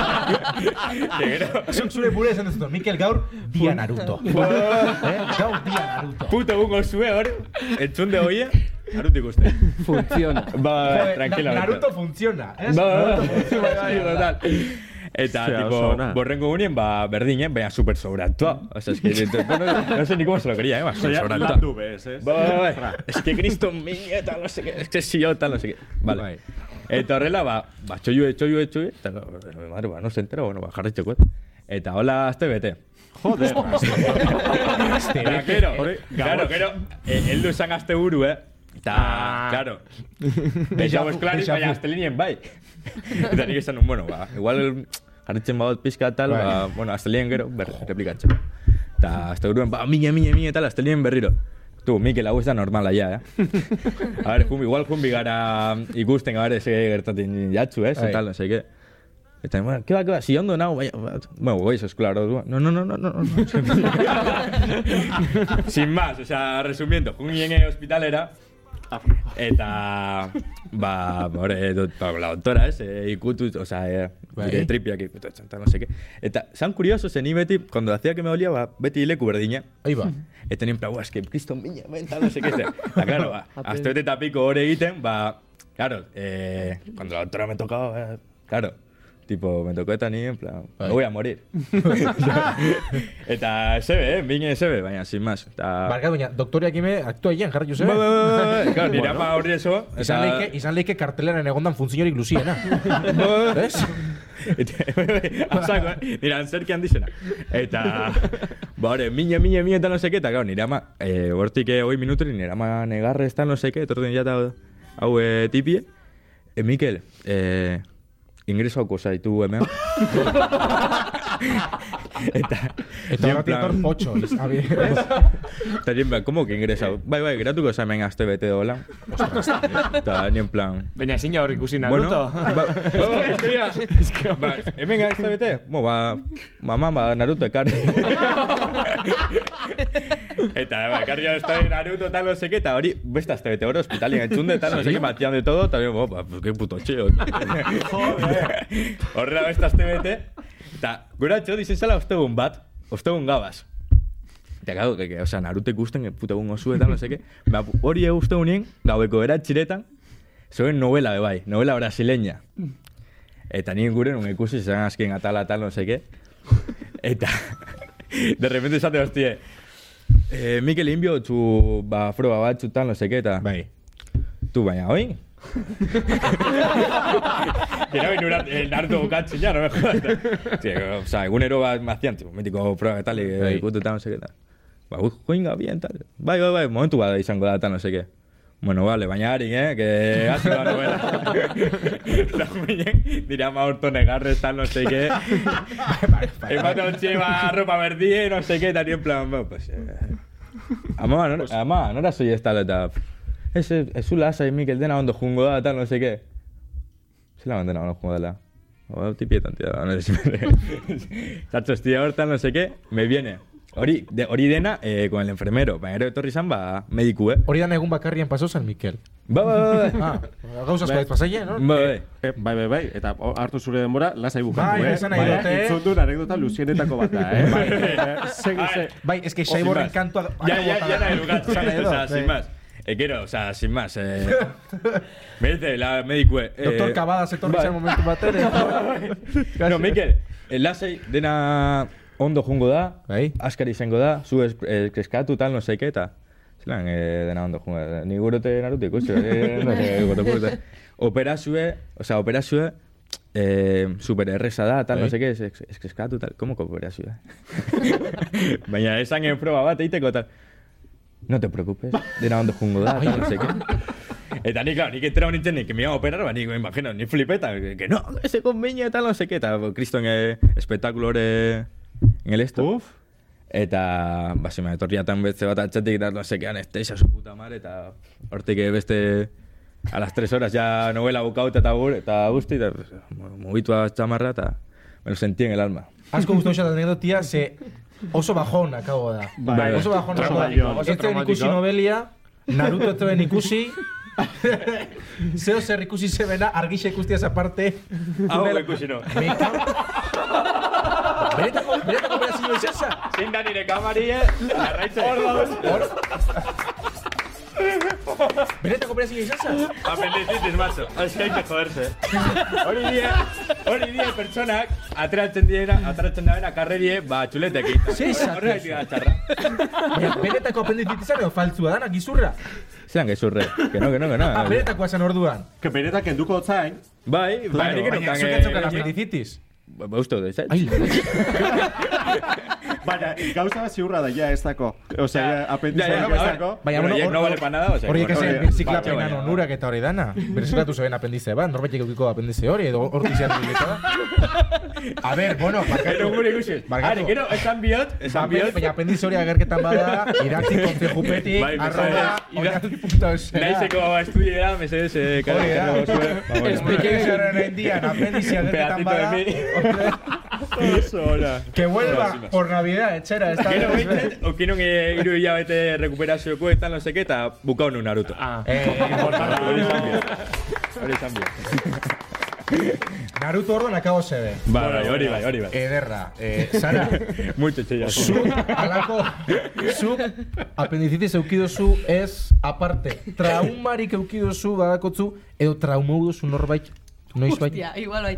G: que gero,
C: Zuk zure burez esan dut, Mikel gaur dia Naruto. eh? Gaur dia Naruto.
G: puto gungo zue hor, entzun de hoia, Naruto ikusten.
B: Funtziona.
G: Ba,
C: Joder,
G: tranquila.
C: Na- Naruto funciona, ez?
G: Ba, ba,
C: Naruto
G: ba.
C: funciona,
G: Sí,
C: bai,
G: total. Eta,
A: Ostia,
G: tipo,
A: oso ona.
G: borrengo unien, ba, berdinen, baina super sobrantua. O sea, es que, no, no, no sé ni cómo se lo quería, eh, ba, super
A: Osea,
G: sobrantua.
A: landu bez, ez?
G: Bai, bai, bai. Es que Cristo mía, tal, no sé qué, es que si yo, tal, no sé qué. Vale. Eh,
C: Bai.
G: Eta horrela, ba, ba, txoiu, txoiu, txoiu, eta, no, no, madre, ba, no se entera, bueno, ba, jarretxeko. Eta hola, azte bete.
A: Joder.
C: Este,
G: Eta, kero,
A: hori,
G: claro, kero, eh, heldu esan azte buru, eh. Eta, claro. Deja vos claro,
C: déjà vu.
G: baina azte linien, bai. [laughs] Eta nik esan, bueno, ba, igual jarretzen badot pizka tal,
C: Bai.
G: ba, bueno, azte linien gero, berri, replikatzen. Eta, azte buruen, ba, mine, mine, mine, tal, azte linien berriro. Tu, Mikel, hau ez da normala ja, eh? a ver, jumbi, igual jumbi gara ikusten, a ver, ese gertatzen jatzu, eh?
C: Bai.
G: Tal, no sé qué. Eta, bueno, que ba, que ba, si ondo nao, baina, ba, bueno, goiz eskular, no, no, no, no, no, no. [laughs] Sin más, o sea, resumiendo, un en hospitalera. Eta, ba, hori, dut, ba, la doctora, ez, eh, ikutu, o sea, eh,
C: Bai.
G: nire tripiak ikutu, eta no sé qué. Eta, zan curioso, zen ni beti, cuando hacía que me dolía, ba, beti leku berdina.
C: Ahí va.
G: Eta nien, plan, "Ua, eske, kriston bina, ben, tal, no sé qué. Eta, claro, ba, azte bete eta piko hori egiten, ba, claro, eh, cuando la doctora me tocaba, eh, claro, tipo, me tocó eta ni, en plan,
C: Bai.
G: me voy a morir. [laughs] eta, sebe, eh, bine, sebe, baina, sin más. Eta,
C: Barkatu, baina doktoreak ime aktua egin, jarri
G: Bai, bai,
C: Josebe.
G: bai, bai. [laughs] Claro, nire ama horri eso.
C: Izan leike, izan leike karteleran egondan funtzionik [laughs] luziena. Ez?
G: [laughs] bai, Azako, eh? Nire antzerki handizena. Eta... Ba, hori, mine, mine, mine, eta no seke, eta, claro, nire ama... Eh, hortik, eh, hoi minutri, nire ama negarre, eta no seke, etorten jata hau eh, tipie. E, Mikel, eh, ingresauko zaitu hemen. eta...
C: Eta
G: nien
C: hori
G: plan-
C: dator potxo. iz- abi, ez? [laughs]
G: Eta nien plan, como que ingresau? Bai, bai, geratuko zamen azte bete dola. Eta nien plan...
E: Baina ezin ja hor ikusi
G: Bueno,
E: Naruto.
G: ba,
E: [laughs]
G: ba, ba, es que mira, ba, hemen gara ez da bete, bo, ba, mama, ba, Naruto ekarri. eta, ba, ekarri hau estoi Naruto, tal, no seke, eta hori, beste azte bete, hori, hospitalien entzunde, tal, no seke, batian de todo, eta hori, bo, ba, pues, que puto cheo. Horrela beste azte bete, eta, gura txo, dizen zela, ostegun bat, ostegun gabaz. Eta gau, que, que, o sea, Naruto ikusten, que puta gungo zuetan, no seke, ba, hori egustegunien, gaueko eratxiretan, Zuen novela, bai, novela brasileña. Eta nien gure nun ikusi izan azken atala, tal, no seke. Eta, [laughs] de repente esate hostie, eh, Mikel Inbio, tu, ba, froba bat, tu, tal, no seke, eta...
C: Bai.
G: Tu, baina, [laughs] oin? Quiero venir una, el nardo bocachi ya, no me jodas. Tío, o sea, egunero bat me hacían, tipo, mítico prueba eta tal, y ikutu, tal, no seke, tal. Ba, ui, joinga, bien, tal. Bai, bai, bai, momentu bat izango da, tal, no seke. Bueno, vale, baina harin, eh, que hasi da [laughs] novela. Eta minen, dira ma orto negarrez, tal, no seke. [laughs] Ematen ontsi, ba, ropa berdie, no seke, eta nien plan, ba, pues... Eh, Ama, nora, ama, nora soy esta eta... Ez, ez, ez zu lasai, Mikel, dena ondo jungo da, tal, no seke. Zela man dena ondo jungo dela. Oba, tipietan, tira, no sé si [laughs] me... Zatzo, estia hortan, no seke, me viene. Hori, de, hori dena, eh, con el enfermero. Baina ero etorri zan, ba, mediku, eh?
C: Hori dan egun bakarrian pasó San Mikel.
G: Ba, ba, ba, ba.
C: Ah, gauz asko ez pasaia, no?
G: Ba, ba.
A: Eh, bai, bai, bai, eta o- hartu zure denbora, lasai bukatu,
C: Bai,
A: eh?
C: esan nahi dut, eh?
A: Itzundun anekdota luzienetako bat da, eh? Bai, eh, ze, ze,
C: Bai, ez que
G: Sin
C: Saiborren
G: más.
C: kantua...
G: Ya, ya, ya
C: [laughs]
G: la educaste.
C: Esan nahi
G: O
C: dut,
G: sea, sin
C: eh.
G: más. Eh, quiero, o sea, sin más. Eh, [laughs] me dice la médico. Eh,
C: Doktor Cabadas etorri
G: bai.
C: zen momentu batera.
G: [laughs] No, Mikel, enlace dena ondo jungo da,
C: Bai.
G: askar izango da, zu es, eh, kreskatu tal, no sé qué, eta zelan eh, dena ondo jungo da. Ni gurote naruto ikusi, eh, no sé, gotopurte. Operazue, o sea, operazue, eh, super erresa da, tal, no sé qué, es, es, es kreskatu, tal, como operazue? [laughs] Baina esan en proba bat egiteko, tal. No te preocupes, dena ondo jungo da, tal, no sé qué. Eta ni, claro, nik enterado nintzen, nik me iba a operar, ba, nik, me imagino, ni flipeta, que, que no, ese con miña, tal, no sé qué, eta, kriston eh, espectáculo hori en el esto. Uf. Eta, ba, se me etorria tan beste bat atxatik, tal, no sé qué, anestesia, su puta madre, eta hortik eh, beste... A las tres horas ya novela bukauta eta gur, eta guzti, eta pues, mugitua txamarra, eta me lo sentí en el alma.
C: Asko guztu hau anekdotia, ze oso bajona, kago da.
A: Bai,
C: oso bajona.
A: bai. Traumatikoa, oso
C: oso da. Ez zen ikusi
A: traumatikoa.
C: novelia, Naruto etuen ikusi,
G: [laughs]
C: [laughs] zeo zer ikusi zebena argixe ikustiaz aparte.
G: Hau Ah, ikusi no.
C: Mekau. Beretako, beretako berazio izasa.
G: Zein da nire kamarie, larraitza. Hor dago.
C: Hor. Beretako berazio izasa.
G: Apendicitis, macho. Es que hay que joderse. ¿eh? Hori die, hori die pertsonak, ateratzen diena, ateratzen dabena karrerie, ba, txuletek egiten.
C: Ze esaten
G: Horregatik da txarra.
C: Baina, Beretako apendizitizan edo faltzua dana, gizurra.
G: Zean gezurre. Que no, que no, ba, que [laughs]
C: Ah,
G: no.
C: beretakoa zen orduan.
F: Que beretak kenduko otzain,
G: Bai, bai, nik
C: Baina,
G: enotan.
C: zuek etzokan apendizitiz.
G: Ba, ba, uste dut, ez?
F: baina gauza bat ziurra da, ja, ez dako. Osea,
G: Ja, ja,
F: apendizak
G: ja,
F: ez dako.
C: Baina, bueno,
G: Bueno, horiek
C: hor-
G: no vale pa nada, o sea,
C: Horiek
G: bueno,
C: ezen
G: hori- Bai,
C: birziklapenan
G: bai, bai.
C: onurak eta hori dana. Berezeratu zuen apendize bat, norbaitek eukiko apendize hori, edo hortik zean A ber, bueno,
G: Gero
C: barkatu.
G: gure ikusi.
C: Barkatu.
G: Ari, gero, esan bihot,
C: Ba,
G: esan
C: pe-
G: bihot.
C: Baina apendize hori agerketan
G: [laughs]
C: bada, iratzi kontzejupetik,
G: Bai, mesedez.
C: arroba,
G: Ira-
C: oinarri.eusera.
G: Naizeko estudiera, mesedez, eh,
C: Hori da.
G: kalera.
C: [laughs] Esplikizaren [laughs] endian, apendize agerketan
G: Pedacito
C: bada,
G: de mí.
F: Oso, hola.
C: [laughs] que vuelva por Navidad, etxera, ez da.
G: Gero
C: [laughs]
G: behintzen, okinon eh, hiru hilabete rekuperazioko eta no seke, eta bukau nun Naruto.
E: Ah,
C: Eh,
G: Hori esan bihot. Hori esan bihot.
C: Naruto orduan akago zede.
G: Bai, bai, hori bai, hori bai.
C: Ederra, eh,
G: [laughs]
C: Sara,
G: Mucho chilla.
C: Zuk, alako, zuk, apendizitis eukidozu ez aparte. Traumarik eukidozu badakotzu, edo traumau duzu norbait, noiz bai.
D: Ja, igual bai.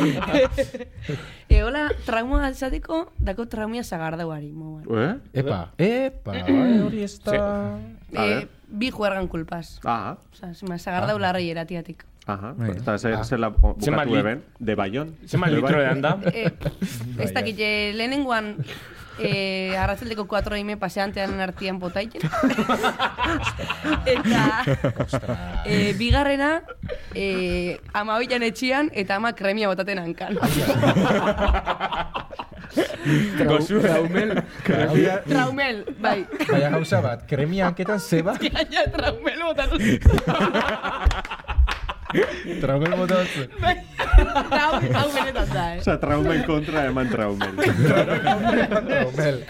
D: [laughs] e, hola, trauma altzateko, dako traumia zagardauari, moguan.
F: Eh?
C: Epa, epa, eh, hori ez da...
D: E, bi juergan kulpaz.
F: Aha,
D: Osa, zima, zagardau larri eratiatik.
F: aha. Eta
G: Ah.
F: zer, zer la
E: Zenbat
F: bukatu
E: lit-
F: eben, de Bayon.
E: zenbat litro edan da?
D: E, ez dakit, eh, lehenengoan eh, arratzaldeko 4 ime paseantean artian botaien. eta eh, bigarrena eh, ama bilan etxian eta ama kremia botaten hankan.
B: Traumel.
C: Hauria-
D: Traumel, bai.
C: Baina gauza bat, kremia hanketan [laughs] zeba,
D: Gaina traumel botan
C: traumel bota batzu.
D: Bai. Hau, hau benetan da, eh?
F: Osa, traumen kontra eman
G: [laughs]
F: traumen.
C: Traumel.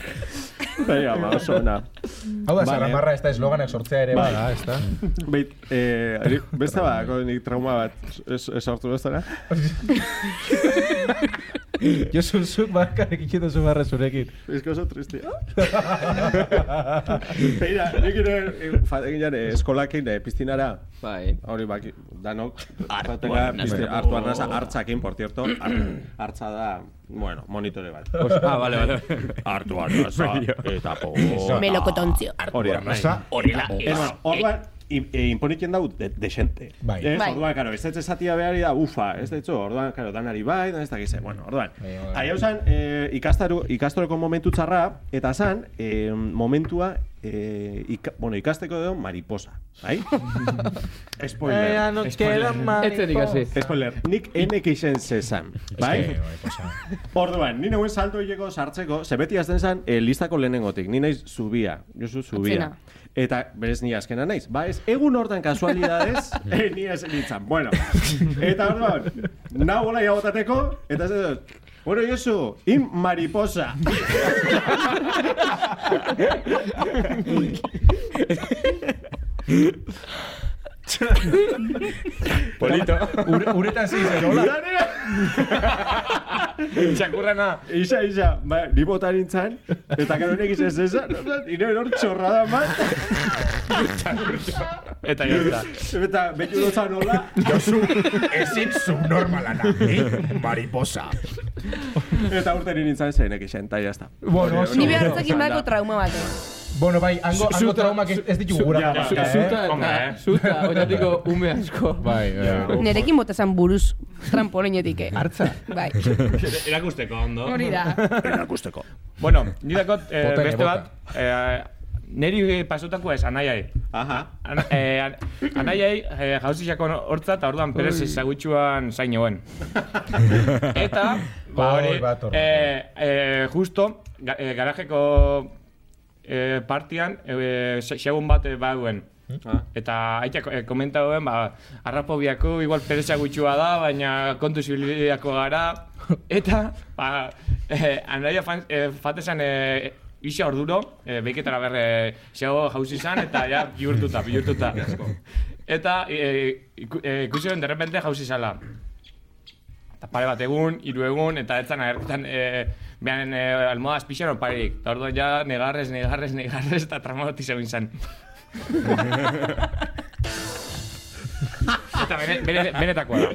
F: Venga, ba, oso ona.
C: Hau da,
F: Vale.
C: zara marra ez da esloganak sortzea ere,
F: Bai.
C: bada, Ba, ez da.
F: Beit, eh, ari- beste badako nik trauma bat es- esartu bestara.
C: Josun zuk bakarrik ikituzu marra zurekin.
F: Ez que oso
G: [laughs]
F: triste. Beira, nik ere, eh, fategin jare, eskolakin, eh, piztinara,
B: Bai.
F: Hori baki, danok, batega, pizte, hartu arnaza, hartzakin, por cierto, har- hartza da, bueno, monitore bat.
G: Ah, vale, vale.
F: Hartu
G: [laughs]
F: arnaza, eta po...
D: Melokotontzio.
F: Hori da,
C: Arnaza.
F: hori da. Ez, bueno, orduan, im- e, imponitien dau de, desente.
C: Bai.
F: Ez,
D: Bai.
F: orduan, karo, ez ez esatia behari da, ufa, ez da itzo, orduan, karo, danari bai, dan ez da gize, bueno, orduan.
C: Bai, bai.
F: Ari hau zan, eh, ikastaru, ikastoroko momentu txarra, eta zan, eh, momentua, eh, ika, bueno, ikasteko edo mariposa,
C: [laughs]
F: bai? Spoiler.
C: nos queda
B: Etzen ikasi.
F: Spoiler, nik enek izen zezan, bai? Orduan, ni neuen salto hileko sartzeko, ze beti azten zan, eh, listako lehenengotik, ni naiz zubia, Josu zubia.
D: Atzena.
F: Eta berez ni azkena naiz, ba ez, egun hortan [laughs] kasualidades, eh, ni ez nintzen, bueno. Eta orduan, nau hola jabotateko, eta ez dut, bueno, Josu, in mariposa.
G: Polito.
C: Uretan zizen, hola.
F: Lanera!
E: [laughs] txakurrana.
F: Isa, isa, ba, ni bota nintzen, eta gero nik izen zezan, nire hor txorrada bat,
E: Eta jazta.
F: eta beti dozan hola,
C: Josu, ezin [laughs] subnormalana, ni mariposa.
F: Eta urte nien nintzen zeinek isen, eta jazta.
C: Bueno,
D: Ni behar zekin bako trauma bat. eh.
C: Bueno, bai, hango, hango traumak ez, ez ditugu gura.
F: ja,
C: pasa,
B: Zuta,
C: eh?
E: Hombre, eh.
B: eta- zuta, oinatiko ume asko.
C: Bai, bai.
D: Nerekin botazan buruz trampolinetik, eh?
C: Hartza.
D: Bai,
E: Erakusteko ondo.
D: hori da.
E: Bueno, nidakot eh,
C: Botene,
E: beste bat, eh, niri pasutako ez, anaiai.
F: Aha.
E: Ana, eh, an- anaiai eh, jauzixako hortza eta orduan perez ezagutxuan zain joen. Eta, ba
C: Oi,
E: hori,
C: bat horra.
E: eh, eh, justo, ga, eh, garajeko eh, partian, eh, se- segun bat eh, baduen. Eta aita eh, komenta duen, ba, arrapobiako, igual pereza gutxua da, baina kontu zibiliako gara. Eta, ba, eh, anaia fan, eh, fatesan eh, Isa orduro, e, beiketara berre xeago jauzi izan, eta ja, bihurtuta, bihurtuta. eta e, iku- e, ikusi duen, derrepente jauzi zala. Eta pare bat egun, hiru egun, eta etzan agertan e, behan e, almoha azpixan oparik. Eta orduan ja, negarrez, negarrez, negarrez, eta tramadotik zegoen [laughs] zan. eta bene, bene, benetakoa da.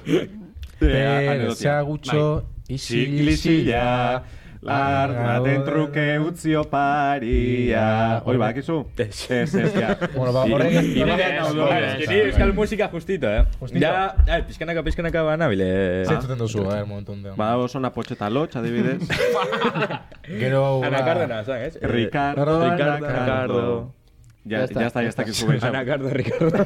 C: Pertsa gutxo,
F: Txiklisila, larnaten truke utzi oparia. Oi,
C: ba,
F: bakizu?
G: Ez.
F: Ez, ez, ja.
C: Bueno, ba, horrek ez-
E: Ibide-
C: horrek-
E: ez-
G: Vale,
E: ez-
G: niri euskal musika justito, eh?
C: Justito.
G: Ja, ai, pizkanaka, pizkanaka banabile.
C: Zer entzuten duzu, a ver, momentu honetan.
F: Badago zona potxeta lotx, adibidez. [laughs]
C: Gero, hau,
G: Ana
C: ba,
G: Cárdenas, ¿sabes? Eh,
F: Ricardo,
G: Ricardo,
F: Ricardo.
G: Ricardo.
F: Ya, ya
B: Ya está,
F: está, ya
B: ya
F: está, que sube.
G: Ana Cárdenas, Ricardo.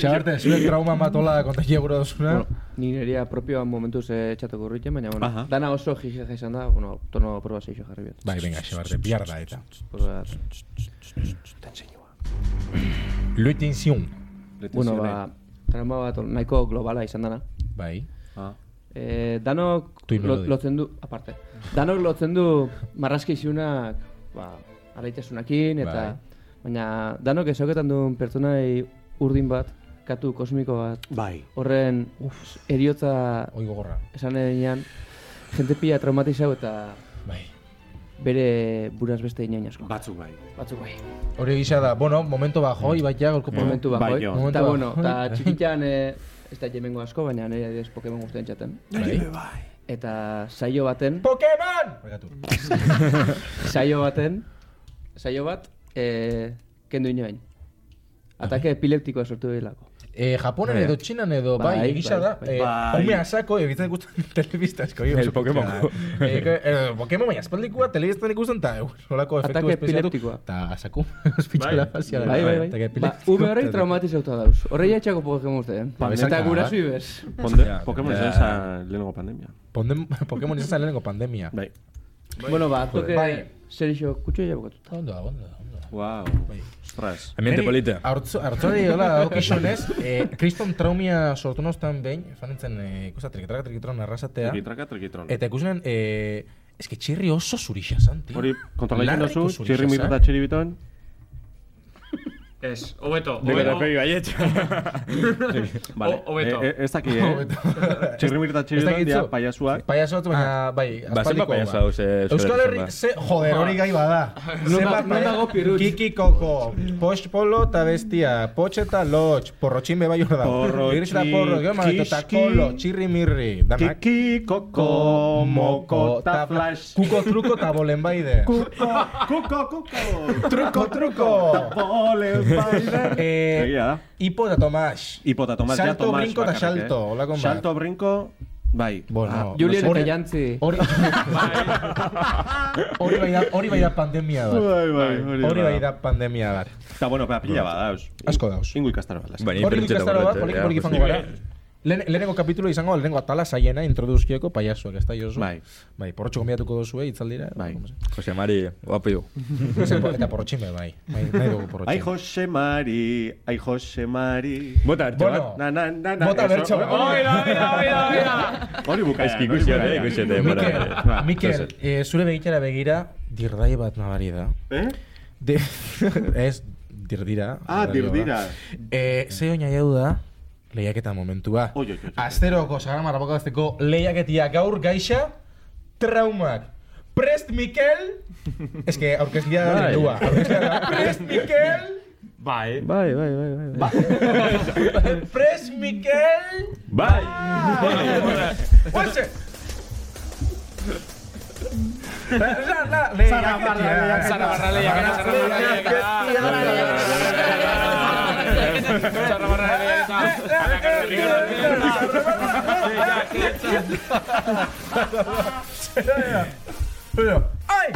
C: Xabarte, zure trauma matola kontakia gura duzuna.
B: Ni nerea propioa momentuz eh, txateko urriten, baina, bueno,
F: Aha.
B: dana oso jijeja izan da, bueno, tono proba seixo jarri biot. ba,
C: Bai, venga, Xabarte, bihar da eta.
B: Proba-
C: Luitin ziun.
B: Bueno, ba, trauma bat hor- nahiko globala izan dana.
C: Bai.
B: Eh, danok
C: Tui
B: lo-
C: melodi.
B: lotzen du, aparte, danok lotzen du marrazki izunak, ba, alaitasunakin,
F: Bai.
B: eta, baina danok ezoketan duen pertsonai urdin bat, katu kosmiko bat,
F: Bai.
B: horren uf, eriotza
C: Oi gogorra.
B: esan edenean, jente pila traumatizau eta
C: Bai.
B: bere buraz beste inoin asko.
F: Batzuk bai.
B: Batzuk bai.
C: Hori gisa da, bueno, momento
G: Mm.
C: bajo, ibai ja, gorko
B: Momentu bat,
F: Bai,
B: bai.
F: jo.
B: Eta
C: Momentu
B: bueno,
C: bat,
F: [laughs]
B: eta txikitan eh, ez da jemengo asko, baina nire adidez Pokemon guztien txaten.
F: Bai.
B: Eta saio
G: Mm.
B: baten,
C: Pokemon! Barkatu.
B: saio baten, saio bat, eh, kendu inoen. Atake epileptikoa sortu delako.
C: Eh, Japonen edo Txinan edo, bai,
B: Ah, Bai,
C: egisa
B: bai,
C: da.
B: bai.
C: Eh,
F: Bai.
C: Ume asako, egitzen ikusten [laughs] telebista esko.
G: El Pokemon.
C: Eh, ke- eh, Pokemon baina espaldikua telebistan ikusten eta eh, solako efektu
B: Ataque
C: espeziatu.
B: epileptikoa.
C: Eta [laughs] asako, espitxela fazia. da.
B: Bai, bai, bai. Ba,
C: Ataque epileptikoa.
B: ume horrek traumatizauta dauz. Horrei etxako Pokemon guztien.
C: Ba,
B: eh. Eta
C: besarkada,
B: guraso
C: bai.
B: ibez.
F: Ponde,
G: Ja,
F: Pokemon
G: ja.
F: izan zen lehenengo pandemia.
C: Ponden- Pokemon izan zen lehenengo pandemia.
F: Bai.
B: Bueno, ba, toke
C: Bai.
B: zer iso kutxo jabokatuta.
C: Ondo, da, ondo, da, ondo. da.
F: Wow. Ostras.
G: Ambiente polita.
C: Hortzu- Hortzori hola
G: [laughs]
C: daukizunez, eh, kriston traumia sortu noztan behin, fanentzen eh, ikusa trikitrak trikitron arrasatea.
F: Trikitraka, trikitron.
C: Eta ikusen, eh, eske txirri oso zurixa zan, tio.
F: Hori, kontrola egin
C: Larriko
F: duzu,
C: zurixa
F: txirri
C: zan.
F: mirrata txiri biton.
E: Ez, hobeto. hobeto.
G: Ricardo Pegi Baietxa.
F: Vale.
E: O- hobeto.
F: Eh, eh,
C: [laughs]
F: Ez daki, eh? [laughs] Txirri Ah. mirrata txiri
C: Ez dakit
F: biton, dia
C: zu.
F: paiasuak.
C: Paiaso bat, baina, bai,
G: Ba, zenbat
C: aspaldikoa,
G: paiaso
C: ba.
G: hau, ze- Euskal
C: Euskal
G: Herrian, ba.
C: Herri, ze, joder, hori gai bada.
B: da-
C: Zenbat
B: non
C: paiaso-
B: dago pirutz.
C: Kiki Koko, Poch Polo eta bestia, Poch eta Lodge, Porrotxin beba jorda da.
F: Porrotxin,
C: Iris eta Porro, gero mal, eta
F: kiski.
C: Kolo, Txirri Mirri, danak.
F: Kiki, koko, moko, ta flash.
C: Kuko, truko eta bolen baide.
F: Kuko, kuko, kuko.
C: Truko, truko.
F: Ole, [laughs] baile.
C: Eh,
F: Egia da.
C: Hipo eta Tomas.
F: Hipota, Tomás, ja
C: Salto,
F: Tomás
C: brinko eta
F: bakarrik,
C: salto,
F: eh?
C: holako bat.
F: Salto, brinko, bai.
C: Bueno,
B: Julien
C: Hori-
B: eta Jantzi.
C: Hori
F: [laughs]
C: Hori bai da, hori bai da pandemia bat.
F: Bai, bai,
C: Hori bai da pandemia bat.
F: Eta, bueno, pa, pila badauz.
C: Asko dauz.
F: Ingo ikastaro bat, laster.
G: Baina
C: Hori
G: hipertxeta
C: ikastaro bat,
G: burrate,
C: poliki poliki
G: ja,
C: fango
G: pues,
C: gara. Lehen, ¿eh? lehenengo kapitulo izango, lehenengo atala zaiena introduzkioko paiasuak, ez da, Josu?
F: Bai.
C: Bai, porrotxo konbiatuko dozue, itzaldira.
F: Bai.
G: Jose Mari, guapo.
C: Ze por- Eta porrotxime, bai. Bai, nahi dugu
F: Ai,
C: porrotxime.
F: Jose Mari, ai, Jose Mari.
G: Bota hartxo
C: Bueno.
G: bat.
F: Na, na, na, na.
C: Bota
F: eso,
C: bertxo.
F: hori-
E: Oira, oira, oira, oira.
F: Hori bukaean.
G: Eski
F: hori
G: ikusi hori,
F: bukaean.
G: ikusi eta
C: Mikel,
G: denbora.
C: Mikel, eh, zure begitara begira, dirdai bat nabari da.
F: Eh?
C: De, [laughs] ez, dirdira.
F: Ah, dirdira.
C: Eh, ze oina jau da, lehiaketa momentua.
F: Oi, oi, oi, oi.
C: Asteroko, sagarra marrapakazteko lehiaketia gaur gaixa, traumak. Prest Mikel, ez que aurkezlia da
G: Bai.
C: lindua. Prest Mikel,
E: Bai.
B: Bai, bai, bai, bai. bai.
C: Prest Mikel,
G: Bai!
C: oase! La, la, lehiaketia.
E: Zara barra lehiaketa, zara barra lehiaketa. Zara barra lehiaketa.
C: Pero, ¡ay!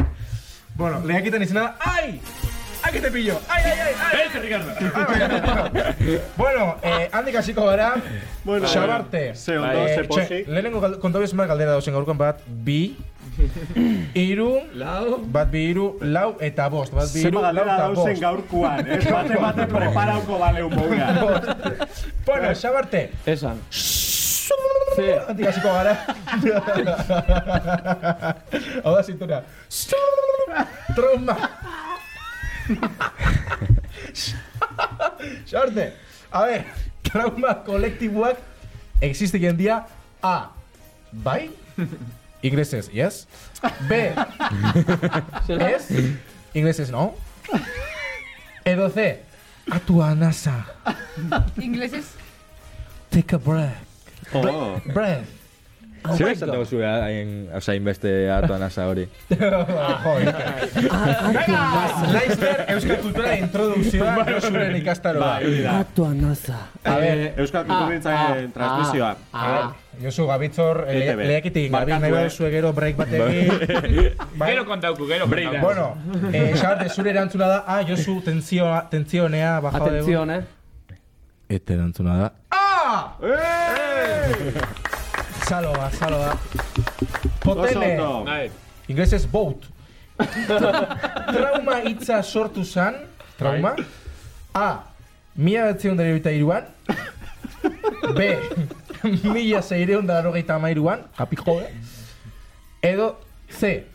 C: Bueno, le voy a quitar ni nada. ¡Ay! ¡Ay, que te pillo! ¡Ay, ay, ay! ay! ay Ricardo! bueno, eh, handik hasiko gara.
F: Bueno,
C: Xabarte.
F: ze ondo, ze pozik.
C: lehenengo gal- kontu bezuma galdera dauzen gaurkoan bat, bi, iru, lau, bat bi iru, lau eta bost. Bat bi iru,
F: Zema
C: lau
F: galdera
C: eta
F: dauzen
C: bost.
F: gaurkuan, ez eh. bate bate preparauko baleu moura.
C: Bueno, Xabarte.
B: Esan. Ze,
C: Antik hasiko gara. Hau da zintuna. Tromba. Sorte. A ber, trauma kolektiboak existiken dia A. Bai? Ingleses, yes. B. Es. Ingleses, no. E, Edo C. Atua nasa.
D: Inglesez,
C: Take a breath.
F: Oh.
C: Breath.
G: Zer esateko zure hain, osain beste atuan asa hori?
C: Laizber, euskal kultura introdukzioa Josuren ikastaroa.
B: atua naza.
C: A ber,
F: Euskal Kulturgintzaren transmisioa.
C: a ber, Josu, gabitzor, eh,
F: ETB.
C: lehiaketik gabil nahi
E: Barkatu, eh.
C: baduzu gero break batekin. Bai.
E: Gero kontauku, gero kontauku.
C: [laughs] Bueno, eh, Xarte, zure erantzuna da, ah, Josu, tentzioa, tentzionea, baja dugu.
B: Atenzion, eh?
C: Eta erantzuna da. Ah! Saloa, saloa.
F: Oso
C: Potene,
F: ondo.
E: Bai.
C: inglesez boat. trauma hitza sortu zan, trauma. A, mila betzion dara iruan. B, mila zeireun dara rogeita amairuan, kapik jode. Edo, C,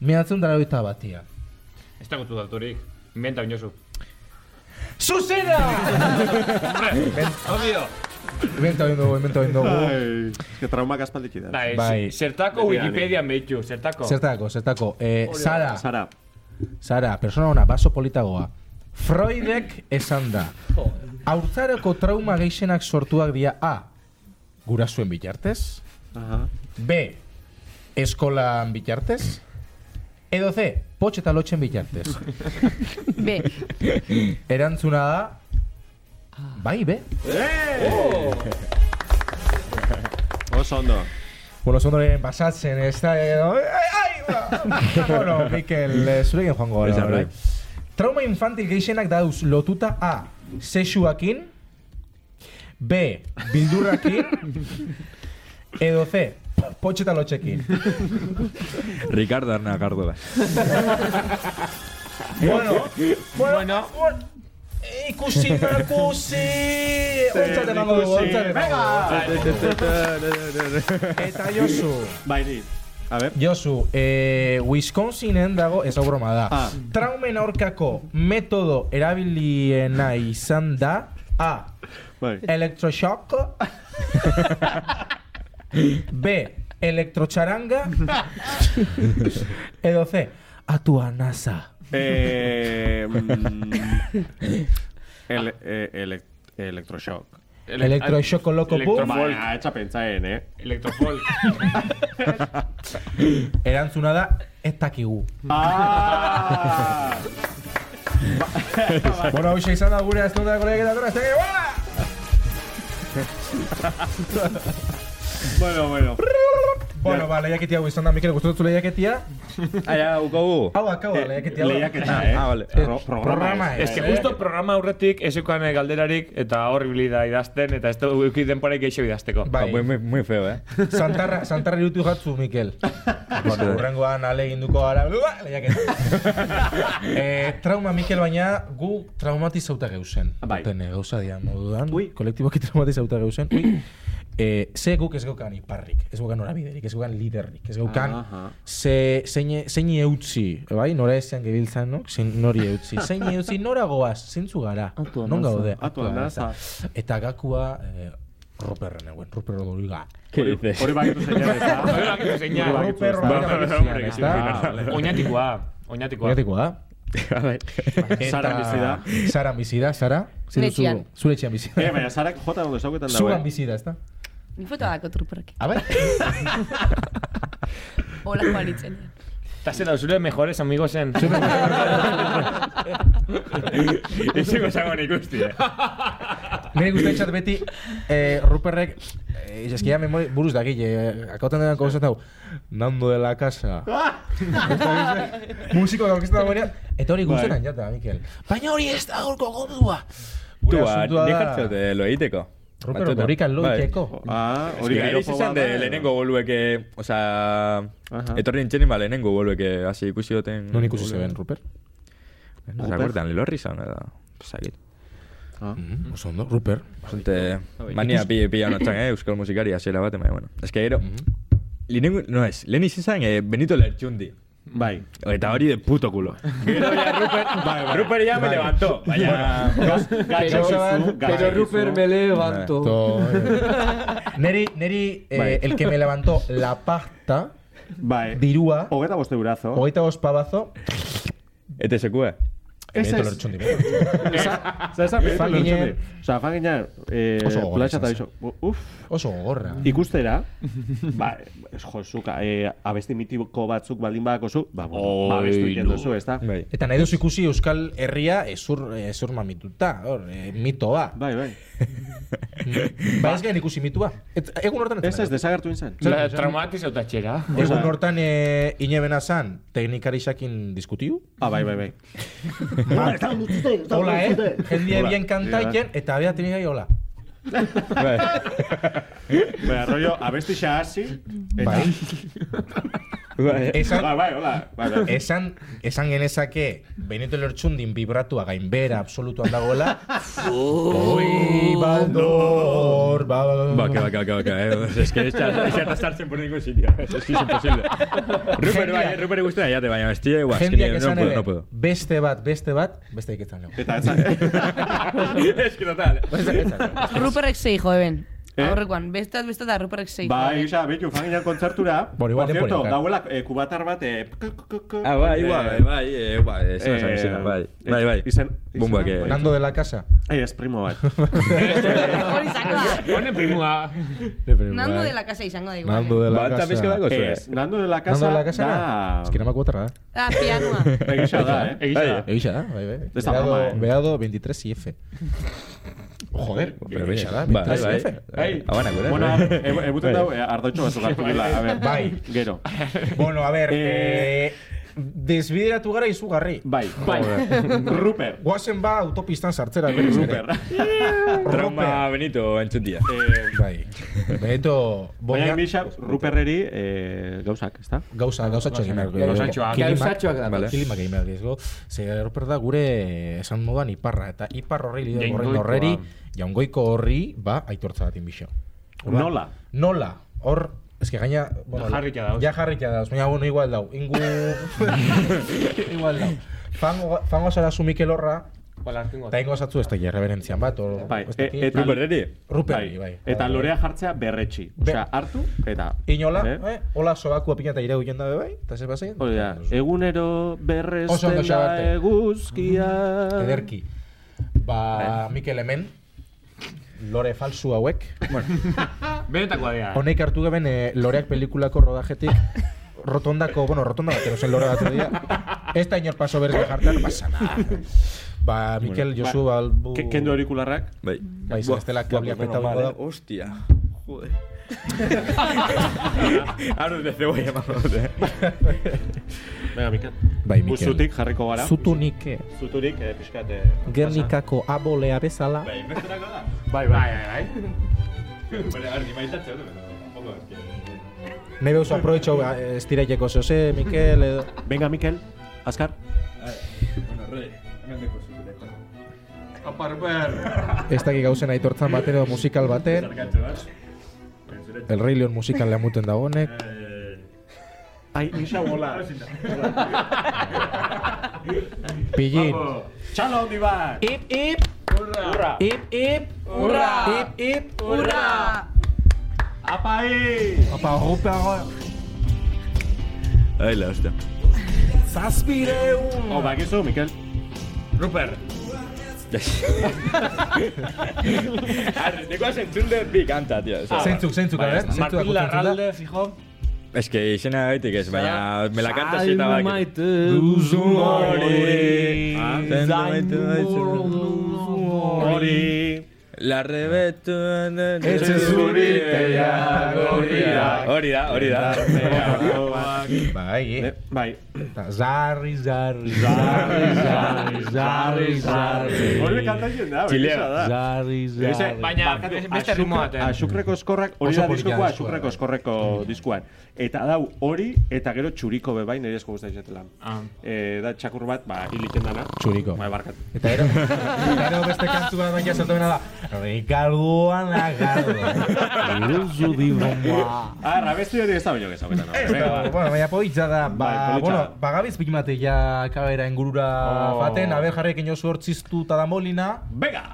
C: mila betzion dara rogeita batian.
E: Ez dago tu daturik. Inventa inozu.
C: Zuzena!
E: Obvio.
C: Inventa egin dugu, inventa egin dugu.
F: Ai, es que traumak aspalditxi da.
E: Bai,
C: Bai.
E: zertako
F: Beti
E: Wikipedia behitu, zertako.
C: Zertako, zertako. Eh, Sara,
F: Sara,
C: Sara, persona ona, baso politagoa. Freudek esan da. Aurtzareko trauma gehienak sortuak dira A. Gurasuen bitartez. B. Eskolan bitartez. Edo C. Potxe eta lotxen bitartez.
D: B.
C: Erantzuna da... Bai, B.
F: oso ondo.
C: Bueno, zondo lehen basatzen, ez da... edo- Ai, ai, ba. bueno, Mikel, eh, zurekin joango. gara,
G: Ez da,
C: bai.
G: bai.
C: Trauma infantil gehienak dauz lotuta A. Sexuakin. B. E. Bildurrakin. edo C. Potxeta lotxekin.
G: Ricardo Arna Gardola.
C: bueno, bueno, eh, bueno. Ikusi, ikusi! Ontzat emango dugu,
F: ikusi.
C: ontzat emango dugu. Eta Josu,
F: Bai, ni. A ver.
C: Josu, eh, Wisconsinen dago, ez hau broma da.
F: Ah.
C: Traumen aurkako metodo erabiliena izan da A.
F: Bai.
C: Electroshock [laughs] B. Elektrotxaranga Edo C. Atua NASA
F: Eh, mm, el, eh, elec- electroshock.
E: Ele-
C: Elektroxoko loko
E: Elektro-
C: boom.
E: Bai,
F: Baina, etxa pentsaen, eh?
E: [laughs] Elektrofolk.
C: Erantzuna da ez dakigu
F: Ah!
C: Bueno, hoxe izan da gure aztunda kolegeta dura, ez dakigu Uala!
F: bueno, bueno.
C: Bueno, ba, lehiaketia hau izan da, Mikel, gustatu lehiaketia
G: Aia, ukogu.
C: Hau akau da, lehiaketia hau.
F: Lehiaketa, eh?
G: Ah, vale.
F: Pro- programa,
C: Programa,
F: eh?
E: Ez este. que justo programa aurretik ez eukan galderarik eta hor ibili da idazten eta ez da euki denporaik eixo idazteko.
G: Ah,
C: Bai,
G: muy, muy, muy feo, eh.
C: Santarra, santarra irutu jatzu, Mikel.
G: eh.
C: Horrengoan alegin duko gara, Ua, lehiaketa. eh, trauma, Mikel, baina gu traumatizauta geuzen.
F: Ah, Bai.
C: Tene, gauza dian modudan,
F: Ui.
C: kolektiboki traumatizauta geuzen. Ui. Eh, ze guk ez gaukan iparrik, ez gaukan horabiderik, ez gaukan liderrik, ez gaukan
F: Aha.
C: ze, zein, zein eutzi, bai, nora ezean gebiltzan, no? Zein nori
F: [laughs]
C: eutzi, zein eutzi, nora goaz, zeintzu gara,
B: Atua
C: non
B: naza.
C: gaude,
F: Atua naza.
C: Eta gakua, eh, Ruperren eguen, Ruper Rodoriga.
G: ¿Qué dices?
F: Hori bakitu zeinak, ez da?
E: Hori bakitu zeinak.
F: Hori bakitu, ez da?
E: Ba,
C: Bai,
E: ba, hombre,
C: bai,
E: que sí,
C: bai.
F: [laughs]
E: ah, vale. Oñatikoa. Oñatikoa.
C: Oinatikoa da.
G: A ver.
C: Eta-
F: Sara bizi da.
C: Sara bizi da, Sara. Zer duzu?
D: Etxean.
C: Zure etxean bizi
F: Eh,
C: da.
F: baina Sarak jota ondo zauketan dago.
C: Zugan
F: eh?
C: bizi da, ezta?
D: ni fota dako truperrak.
C: A ber,
D: Hola, balitzen. [laughs]
E: Eta zera, zure mejores amigosen.
G: [laughs] Eso que sago ni gustia.
C: [laughs] nire guztain txat beti eh, Ruperrek eh, eskia memori buruz da gile, eh, akauten denan kogozatzen dago Nando de la casa Musiko da orkestra dagoenean Eta hori guztien jata, Mikel Baina hori ez da gaurko gordua Gure
G: Tú,
C: asuntua
G: dejartze
C: da
G: de lo egiteko.
C: Ruper
G: Batzuetan.
C: Rodorikan lo
G: Bai.
C: ikeko
F: Ah, hori
G: Hori gero
F: gehiago
G: izan de lehenengo bolueke, osea,
F: Aha.
G: etorri nintzen ba lehenengo bolueke, hasi ikusi duten...
C: Non ikusi zeben, Ruper?
G: No se acuerdan, lorri izan, da. Zagit.
C: Mhm, Oso ondo, Ruper.
G: Gente, mania pila pila honetan, eh, euskal musikari hasiera bat, baina, bueno. Ez que gero, lehenengo, no ez, lehen izan zen, eh, Benito Lertxundi.
F: Bai.
G: Eta hori de puto culo. Gero ya Ruper, Ruper ya me levantó. Baina,
B: Pero, pero Ruper me levanto.
C: To- neri, neri eh, el que me levantó la pasta,
F: Bai.
C: dirua,
F: Hogeita boste burazo.
C: hogeita ospabazo,
G: ete sekue.
F: Ez,
C: Benito
F: ez.
C: Lertxundi.
F: Zer esan Benito
C: Fanginen-
F: Lertxundi? Osea, fanginen, eh,
C: Oso gogorra
F: plaza eta
C: izan
F: bizo. Uf,
C: Oso gorra.
F: ikustera, ba, ez jozuka, eh, abesti mitiko batzuk baldin badakozu, ba, bueno, ba, abestu egiten duzu, ez da?
G: Bai.
C: Eta nahi duzu ikusi Euskal Herria ezur, ezur mamituta, hor, eh, mitoa.
F: Bai, bai.
C: Ba, ez gain ikusi mitua. Et, egun hortan
F: Ez ez,
C: zen.
F: desagertu inzan.
E: La traumatiza eta txera.
C: Egun hortan e, inebena zan, teknikarisakin diskutiu.
F: Ah, bai, bai, bai.
C: Hola, eh? Jendie
F: Hola.
C: bien kantaiken, eta abea teknikai hola.
F: Baina, rollo, abesti xa hasi, eta...
C: Bai.
G: Bai.
C: [laughs] Esan,
F: Bai, bai, hola. Bai, bai.
C: esan, esan genezake Benito Lertxundin vibratua gainbera absolutuan [laughs] dagoela. Oi, baldor, baldor. Ba,
G: Baka, baka, baka, baka, [laughs] eh. Ez que ez da sartzen por ningún sitio. Ez que es [laughs] imposible. Ruper, bai, eh, Ruper gustura, ya te baina, bestia, guas, que
C: Jendeak
G: no
C: esan
G: puedo,
C: ere,
G: no puedo.
C: beste bat, beste bat, beste iketan leo.
F: Eta, eta,
G: Es que total.
D: Ruperrek zei jo, eben. Aurrekoan, bestat, bestat, da Ruperrek zei.
F: bai, xa, behitu, fanginan kontzertura.
C: Bueno, igual
F: Por
C: denbora
F: cierto,
C: daukat.
F: dauela eh, kubatar bat, eh... k- k- k- k-
G: Ah, bai,
F: eh,
G: bai, bai, eh, bai, ez
F: Eh,
G: da izena, bai. Bai, bai.
F: izen-
G: Bomba
F: izena,
G: que...
F: bai.
C: Nando de la casa.
F: Eh, ez primo [laughs] bat.
D: [laughs] Hori zakoa. Bai.
E: Honen primua.
D: Nando de la casa izango da igual. eh.
C: Nando de la
G: Bata
C: casa.
G: pizka dago zuen.
F: Ez, Nando Eh, de la
C: Nando
F: Casa
C: de la casa.
F: da...
C: Es que no me acuerdo nada. ¿eh?
D: Ah, [laughs] pianua.
F: Egisa da, eh?
E: Egia da.
C: Egisa da, bai, bai.
F: Ez da broma, eh.
C: Beado 23 IF. Joder,
G: Pero
C: egisa da,
G: bai,
C: 23
G: bai.
C: IF.
G: Bai, abana, gure.
F: Ah, Bueno, ebuten dau, eh, ardotxo batzuk hartu gila. A ver,
C: [laughs] Bai.
F: Gero.
C: Bueno, a ver,
F: Eh.
C: [laughs] eh, desbideratu gara izugarri.
F: Bai, bai. Ruper.
C: Guazen ba autopistan sartzera. berriz ere.
F: Ruper.
G: Trauma Benito entzutia.
F: Eh,
C: Bai. Beto,
F: Baina
C: boina,
F: Misha, Ruperreri eh, gauzak, ezta?
C: gauza, gauzatxo egin behar.
E: Gauzatxoak.
B: Gauzatxoak da.
G: Vale.
C: Kilima egin behar dizgo. Ze Ruper da gure esan modan iparra. Eta ipar horri lider horren
E: Jaungoikoa.
C: horreri, jaungoiko horri, ba, aitortza bat inbixo. Orduan,
F: Nola?
C: Nola. Hor, eske gaina... Bueno,
E: Ja jarrita dauz.
C: Ja jarrita dauz. Baina, bueno, igual dau. Ingu...
F: [laughs]
C: igual dau. Fango, fango zara zu Mikel Horra, eta ingo zatzu ez da reverentzian bat, o...
F: Bai,
C: ez dakit.
F: e- eta-
G: Ruperreri?
C: Ruperri, bai.
F: Eta lorea jartzea berretxi.
C: Be-
F: Osea, hartu eta...
C: Inola,
F: Eh?
C: eh? Ola sobakua pina eta ireu jenda bai, eta ze pasei?
F: Hori da, egunero
C: Oso
F: berrezten
C: ondo,
F: da
C: Xabarte.
F: eguzkia...
C: Ederki. Ba,
F: Eh.
C: Mikel hemen, lore falsu hauek.
E: Benetakoa dea.
C: Honek hartu gaben eh, loreak pelikulako rodajetik rotondako, bueno, rotonda bat, erosen lore bat dira. Ez da inor paso berez jartan, pasa nada. Ba, Mikel, Josu,
F: Ba,
C: balbu...
F: ke- Kendu aurikularrak. [laughs]
G: Bai.
C: Bai, ze bestela kablea peta bongo da.
G: Hostia. Joder. Arroz de cebolla, mamá.
F: [laughs] Venga, Mikel.
C: Bai, Mikel.
F: Usutik jarriko gara.
C: Zutu nik eh,
F: Zuturik, eh, pixkat... eh, Bai,
C: Gernikako abolea bezala.
E: Bai, bai, bai.
F: eh,
C: Nahi behuzu aproetxo eh, estiraileko zoze, Mikel, edo...
F: pasa. Venga, Mikel. Azkar. eh,
E: Aparber.
C: Ez dakik gauzen aitortzan baten edo musikal baten. El Rey Leon musikal lamuten da honek.
F: [laughs] Ai, Misha bola.
C: Pillin.
F: Txalo handi bat!
C: Ip, ip. Urra. Ip, ip.
D: Urra.
C: Ip, ip.
D: Urra!
F: Apai!
C: Apa, eh? rupe
G: Ay, la hostia. [laughs]
C: Zazpireun.
F: Oh, bakizu, Mikel.
E: Ruper.
G: Arrezteko zentzun de pikanta, tío.
C: Zeintzuk, zeintzuk, a ver. Zeintzuk
E: Martín
C: akutzen da.
E: Larralde, fijo.
G: Es que izena gaitik ez, baina me la canta
B: Ai,
G: zita bak.
B: maite
G: Duzu
B: hori.
F: Ah,
C: Ah,
G: hori.
B: Zain
G: Zain
B: buru.
F: Hori!
G: La rebetu...
C: Etxe zuri teia gorriak.
G: Hori da, hori da.
C: Bai, eh.
F: Bai.
C: Eta Zarri, zarri, zarri, zarri, zarri,
G: Eh,
C: zarri.
F: Hori kantatzen da,
G: Chilea.
F: berriza da.
C: Zarri,
F: Ese,
C: zarri.
E: Baina, beste ritmo baten.
F: Asukreko Ah, eskorrak, hori da
C: Oso polita
F: diskoko
C: diskoa,
F: asukreko
C: bai.
F: eskorreko diskuan. Eta dau hori, eta gero txuriko bebai nire esko guztai zetelan.
E: Ah.
F: E, da txakur bat, ba, hiliten dana.
C: Txuriko.
F: Bai, barkatu.
C: Eta ero, eta ero beste kantu bat baina salto bena da. Ricardoan lagardo. Iruzu di bomba.
F: Arra, Ah, beste hori ez da baino gezago.
C: Bueno, baina politza da.
F: Bai,
C: Ba,
F: politza
C: bueno,
F: da.
C: bagabiz pikmate ja kabera ingurura
F: Oh.
C: baten. Aber jarrekin oso hortziztu eta da molina.
F: Venga!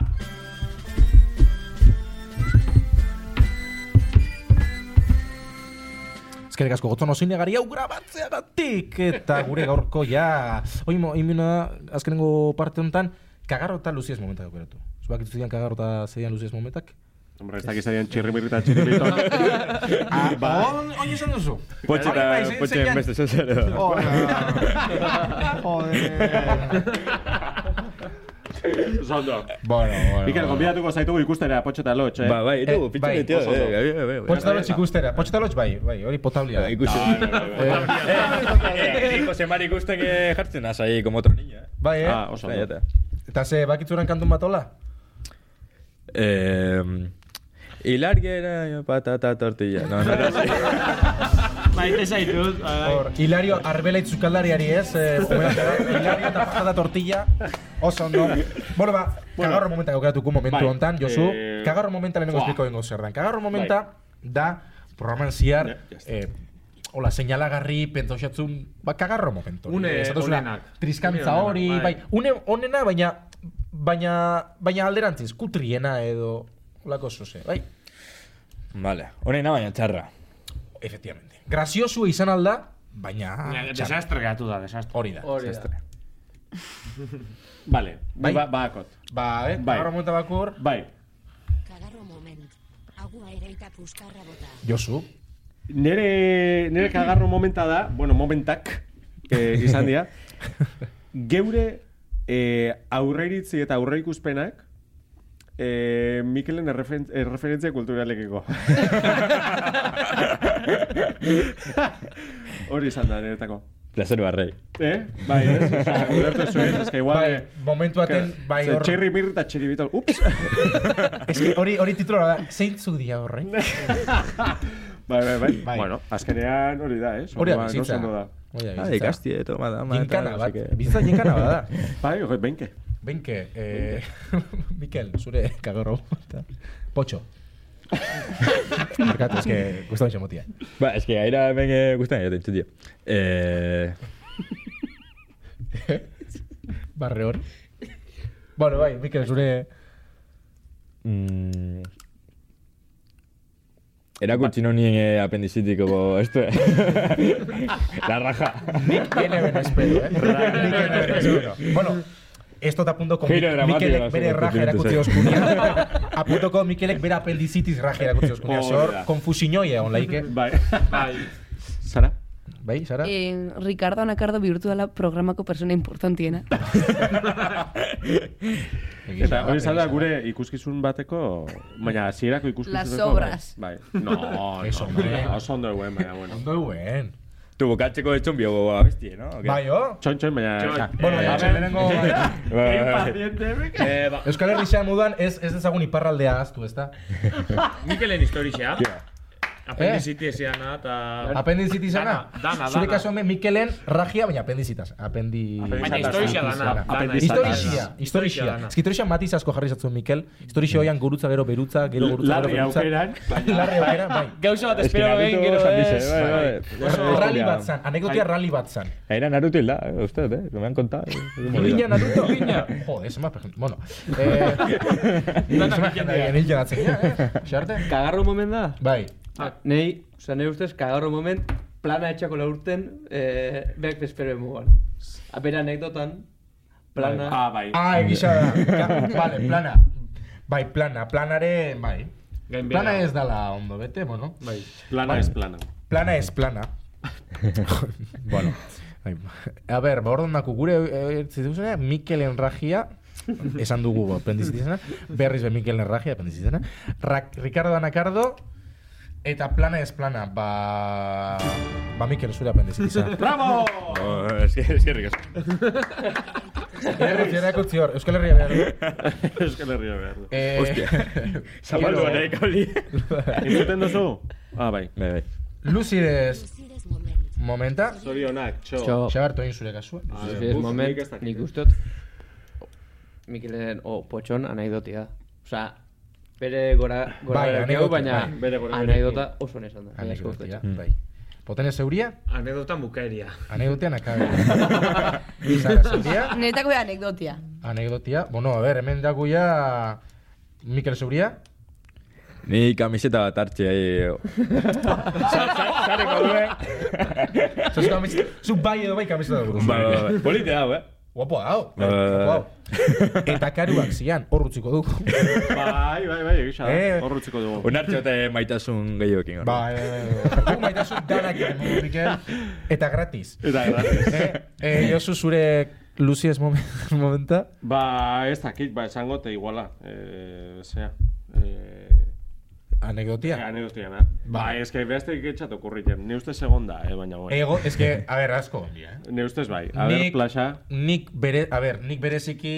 C: Ezkerrik asko gotzon oso inegari hau grabatzeagatik eta gure gaurko ja oimo imina azkenengo parte honetan kagarro eta luziez momentak aukeratu. Zubak dituzien kagarro eta zedian luziez momentak.
F: Hombre, ez dakiz adian txirrimir eta txirrimir.
C: Ah, on, on esan duzu.
G: Potxe eta
C: Bai, bai,
G: potxe
C: zeian-
G: beste zozero.
C: Joder. Joder.
F: Zondo.
C: [laughs] Bueno, bueno.
F: Mikel, gombidatuko zaitugu ikustera potxo eta lotx, eh?
G: Ba, bai,
C: Eh,
G: du, pitxo
C: bai,
G: betio,
F: oso
G: eh,
F: ondo.
G: gabe, gabe, gabe.
C: Potxetalotx ikustera. Potxetalotx bai, bai, hori potaulia.
G: Ba, Ikusi. Eh, [laughs] Jose Mari ikusten eh, jartzen naz ahí, como otro niño, eh.
C: Bai, eh?
F: Ah, oso.
G: Eta,
F: ondo.
G: eta.
C: Eta ze, bakitzuran kantun bat hola?
G: Eh, Hilargera patata tortilla. No, no, no.
H: Maite zaitut. bai.
C: Hor, Hilario Arbela itzukaldariari ez, eh, homenajeak. Hilario eta patata tortilla, oso ondo. Bueno, ba, kagarro momenta aukeratuko momentu
F: Bai,
C: honetan, Josu.
F: eh,
C: Kagarro momenta lehenengo
F: Buah.
C: espliko dengo zer den. Kagarro momenta da programan ziar,
F: Ja, ja
C: eh, hola, seinalagarri, pentsatzen, ba, kagarro momentu.
E: Une
C: Eh, esaten duzuna,
E: onenak. Une
C: Triskantza
E: onenak,
C: hori,
E: bai.
C: bai. Une onena, baina, baina, baina alderantziz, kutriena edo, holako zuze, bai.
G: Vale, honena baina txarra.
C: Efectivamente. Graciosu izan alda, baina... txarra.
E: Ah. Desastre gatu da, desastre.
C: Hori da.
B: Hori da.
F: Vale,
C: Bai.
F: bai. ba, bakot.
C: Ba, eh?
F: Bai.
C: Gaur momenta bakur.
F: Bai.
I: Kagarro moment. Agua ere eta puskarra bota.
C: Josu.
F: Nere, nere kagarro momenta da, bueno, momentak eh, izan [laughs] dira. Geure eh, aurreiritzi eta aurreikuspenak eh, Mikelen erreferen- erreferentzia kulturalekiko. [laughs] Hori izan da, niretako.
G: Placer barrei.
F: Eh? Bai, ez? Osea, ulertu zuen, ez que igual...
C: Bai,
F: eh,
C: momentu baten,
F: que-
C: bai,
F: ze
C: hor-
F: Txirri mirri eta txirri bitol. Ups!
C: [laughs] Ez que hori, hori tituloa da, zeintzuk dira eh?
F: [laughs]
C: horre?
F: Ba, bai, bai, bai,
C: Bai.
F: Bueno, azkenean hori da, ez?
C: Hori da
F: Orduan,
C: bizitza.
F: oso ondo da.
C: Hori da
G: Ah,
C: bizitza.
G: ikasti, eh, toma da.
C: Ginkana bat, bizitza ginkana bat
G: [laughs]
C: da.
F: Bai, hori, benke.
C: Benke, eh, [laughs] Mikel, zure kagorro.
G: [laughs]
C: Potxo. Markatu, ez que gustan xe motia.
G: Ba, es que aira hemen eh, gustan jaten txutio. Eh,
C: Barre hor. Bueno, bai, Mikel, zure...
G: mm, Erakutsi non nien eh, apendizitiko bo, esto eh. La raja.
C: Tiene ben espero, eh? Mikel, ben espero. Bueno, esto está a punto con
G: Giro dramático
C: Mikelek
G: las
C: bere raja
G: circunstancias.
C: erakutzi oskunia. [laughs] A punto con Mikelek bere apendicitis raja erakutzi
G: Oh,
C: oskunia.
F: Hori
C: Zor,
F: da.
C: konfusiñoia onlaike.
F: Bai.
E: Bai.
F: [laughs] Sara?
C: Bai, E. Sara?
D: Eh, Ricardo Anacardo bihurtu dela programako persona [laughs] importantiena.
C: Egia
F: Eta
C: da,
F: hori izan da
C: egia
F: gure ikuskizun bateko, baina hasierako ikuskizun
D: Las obras.
F: Bai. No, no,
C: Eso, hombre.
F: no, [laughs] oso ondo eh. eguen, baina, bueno.
C: Ondo eguen.
G: Tu bukatzeko etxon bio bo, abesti, no? Ok.
C: Bai, oh?
F: Txon, txon, baina... ja.
C: Bueno,
G: Eh,
C: eh,
G: [laughs]
C: lehenengo...
G: Bai, bai, bai.
E: Eh, ba,
C: Euskal Herrixean mudan ez, ez dezagun iparraldea aztu, ezta?
E: Mikelen historixea. Apendizitiz iana eta...
C: Apendiziti izana?
E: Dana, dana,
C: Zure
E: dana.
C: kasuan ben Mikelen ragia, baina apendizitaz. Apendi...
E: Baina historixea dana. dana,
F: Apendizitiza.
C: Historixia, historixia.
E: dana.
C: Ez que historixia matiz asko jarri zatzuen, Mikel. Historixia hoian gurutza gero berutza, gero gurutza
F: Larri
C: gero berutza.
F: aukeran,
C: Larri aukera,
E: [laughs]
C: bai.
E: Gauza bat
G: Es que
E: espero egin gero
G: Naruto esan dice,
E: ez.
G: bai, bai.
C: Rally bat zan, anekdotia
F: Bai.
C: rally bat zan.
G: Aira Naruto hilda, eh, uste, eh? Lo me han contado.
F: Bai. [laughs]
C: Iruña, Naruto, iruña. Jode, se me ha presentado. Bueno.
E: [laughs]
C: Eh, se
G: bai.
C: me ha presentado. Iruña datzen, ja, eh? Xarte?
B: Kagarro moment da?
C: Bai.
B: ¿eh? Nei, oza, nire ustez, kagarro moment, plana etxako laurten, eh, beak bezpero emugan. Bera anekdotan, plana...
F: Ah, bai.
C: Ah, egisa da. Ka- Vale, plana. Bai, plana. Planare, bai.
E: Gainbehera.
C: Plana ez dala ondo bete, bueno.
E: Bai.
F: Plana ez plana.
C: Plana ez
F: [laughs]
C: plana. eh, bueno. Ai, A ber, ba, orduan daku, gure ertzituzene, Mikelen ragia, esan dugu aprendiz izena, berriz be Mikel Nerraji aprendiz izena, Rak- Ricardo Anacardo, eta plana ez plana, ba... Ba Mikel zure aprendiz izena.
F: Bravo!
G: Oh, eskerrik
C: [laughs]
G: asko.
C: Erretzera kutzior, Euskal Herria behar.
F: [laughs] Euskal Herria behar du.
C: Eh,
G: Hostia.
C: [laughs]
G: Zapaldu honek, hori.
F: Entzuten duzu? Ah, bai.
G: Bai, bai.
C: Lucidez
I: Lucides Moment.
C: momenta,
F: Zorionak, txo.
B: Txo,
C: xabartu egin zure kasua.
F: Ah, bai.
B: ez moment, nik ustot, Mikelen, o, oh, potxon anaidotia. Osa, bere gora, gora
C: Bai,
B: bai, hau,
C: anekdota,
B: baina
C: bai,
F: bere gora
B: anaidota oso nesan da. Baina asko
C: Anekdotia,
B: gustatzen.
C: bai. Potenez euria,
H: Anedota bukaeria.
C: anekdotean
F: [laughs]
C: akabe. Zara zeuria,
D: Niretako be anekdotia.
C: anekdotia, bueno, a ber, hemen dagoia Mikel Zeuria,
G: Ni kamiseta bat hartzi, ahi. Zareko duen.
F: [laughs]
C: Zuz kamiseta, zu bai edo bai kamiseta dugu.
G: Ba, ba, ba. Polite dago, eh?
C: Guapo hau.
G: Bai, bai, bai.
C: Guapo hau. Eta karuak zian, hor utziko
F: [laughs]
C: dugu.
F: Bai, bai, bai, egisa da.
C: Eh.
F: Hor utziko dugu.
G: Onartxe eta maitasun gehiokin. hor.
C: Ba, gu maitasun danak egin dugu, Mikel. Eta gratis.
F: Eta, eta.
C: Eh, eh, Josu zure luziez momen- [laughs] momenta.
F: Ba, ez dakit, ba, esango te iguala. Eh, zea. Eh,
C: Anekdotia.
F: anekdotiana. Ba,
C: Bai.
F: ez que beste iketxat okurritzen. Ni ustez egon da, eh, baina bueno.
C: [laughs] Ego, ez que, a ber, asko. gondia, eh.
F: Ni ustez bai. A ber,
C: Nik-
F: plaxa.
C: Nik bere, a ber, nik bereziki,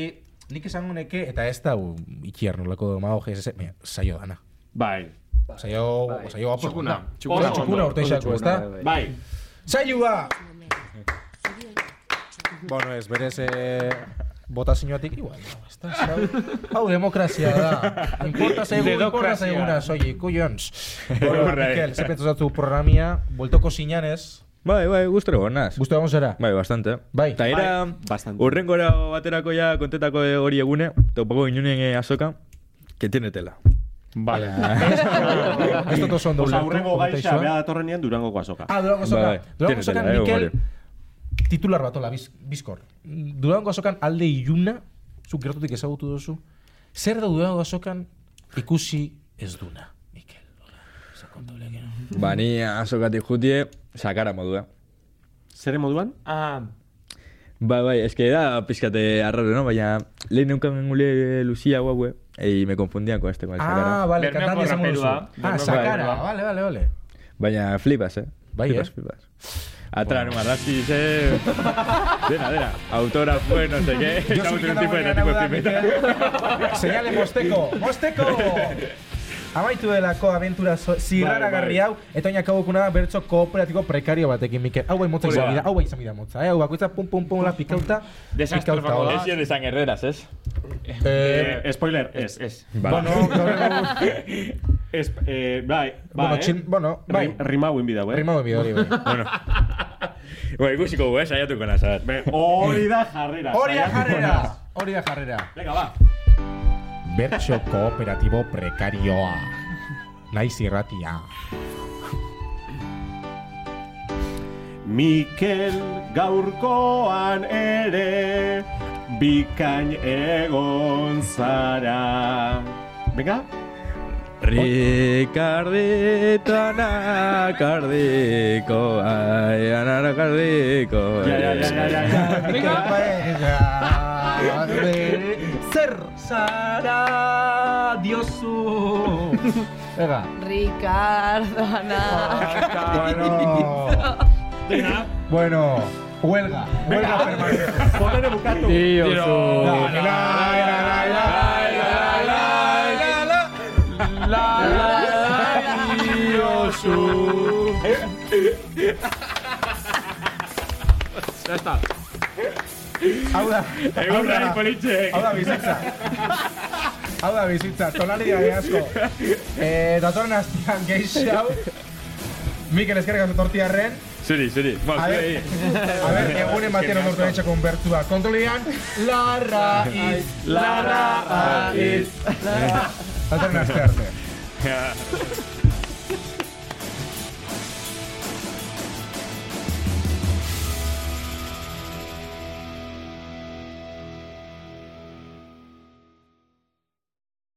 C: nik esango neke, eta ez da, u, ikiar nolako demagogia, ez, ez, mira, saio dana.
F: Bai.
C: Saio, saio apur.
F: Txukuna.
C: da.
F: Txukuna.
C: Oso Txukuna urte izako, ez da?
F: Bai.
C: Saioa! Bueno, ez, berez, eh, bota zinoatik igual. no, ez da, zau- Hau demokrazia da. Importa zaigu, importa
E: Dedokrazia.
C: zaiguna, soilik, [laughs] kuions. Bueno, Mikel, ze pentsatu programia, voltoko zinanez,
G: Bai, bai, guztore gonaz.
C: guztu egon zera.
G: Bai, bastante.
C: Bai.
G: Ta era,
F: bastante.
G: urrengora baterako ja kontetako hori egune, topako inunen eh, azoka, que tiene tela. [laughs]
E: Vale.
C: Ez dut oso ondo
F: Osa,
C: ulertu,
F: urrengo
C: komenta
F: gaixa,
C: izua.
F: beha datorren nian durango guazoka.
C: ¿eh? Ah, Durango Azokan.
G: Bai,
C: Durango
G: tiene
C: Azokan,
G: tela, eh,
C: Mikel,
G: hori.
C: titular batola, biz, bizkor. Durango Azokan alde iluna, zuk gertutik ezagutu duzu. Zer da Durango Azokan ikusi ez duna, Mikel?
G: Ba, ni azokatik jutie, sakara modua.
F: Zere moduan?
H: Ah,
G: Bai, bai, eske da pizkate arraro, no? Baina lehen neukan gule Lucia guaue, ei me confundían con este con el Bai, sakara.
C: Ah, vale,
H: Bermeoko
C: kantan izango duzu.
H: raperua.
C: Ah,
H: Bermeoko
C: Sakara,
H: raperua.
C: vale, vale, vale.
G: Baina flipas, eh?
C: Bai,
G: flipas,
C: eh?
G: flipas. Atra, bueno. arrastis, eh?
C: [laughs]
G: dena, dena. Autógrafo, no sé
F: [laughs]
G: qué. Estamos en un tipo
C: Josu
G: de tipo de
C: Kitabonean
G: pimenta.
C: hau da, [laughs] Mikel. Seinale mosteko,
G: [laughs]
C: mosteko! Amaitu delako aventura zo- zirraragarri hau, eta oinak abokuna bertso kooperatiko prekario batekin, Mikel. Hau bai motza izan dira, hau bai izan dira motza, eh? Hau bakoitza pum pum pum la pikauta,
E: Desastre
C: pikauta
E: bako
C: hola.
G: Lesión de San Herreras, ¿es?
C: Eh,
F: Eh, spoiler, ez.
H: ez.
G: Vale.
C: Bueno, gaur egun-
F: Ez, eh, bai,
C: bueno,
F: bai,
C: chin- bueno, bai,
F: Rima guen bidau, eh?
C: rimado bidori, bai.
G: Bueno. Bueno, ikusiko gu, eh? Saiatuko nazar. [laughs]
F: Be, hori da jarrera.
C: Hori da
F: saiatuko naiz.
C: jarrera, hori da jarrera.
F: Venga, ba.
C: Bertso kooperatibo prekarioa. Naiz irratia.
F: Mikel gaurkoan ere bikain egon zara. Venga,
G: Ricardito, anacardito, ay, anacardito.
F: ja, ja, ja, ja, ja, ja.
C: Venga. Zer zara diozu. Ega.
D: Ricardo, ana.
C: Bueno. Bueno. Huelga. Huelga permanente.
F: Botere bukatu.
C: La, la, la, la, la, la, la, la, la.
F: Ya está.
C: Hau da. hau
G: Egun
C: da-
G: nahi politxe.
C: Hau da bizitza. Hau da bizitza, tonari da asko. Eh, datorren astean geixau. Mikel eskerrik asko tortiarren.
G: Zuri, zuri.
C: A
G: Ba,
C: ver,
G: zuri.
C: a ver, egunen batean ondoren etxeko konbertua. Kontrolian, larra iz, larra iz. Datorren aste arte.
G: Ja.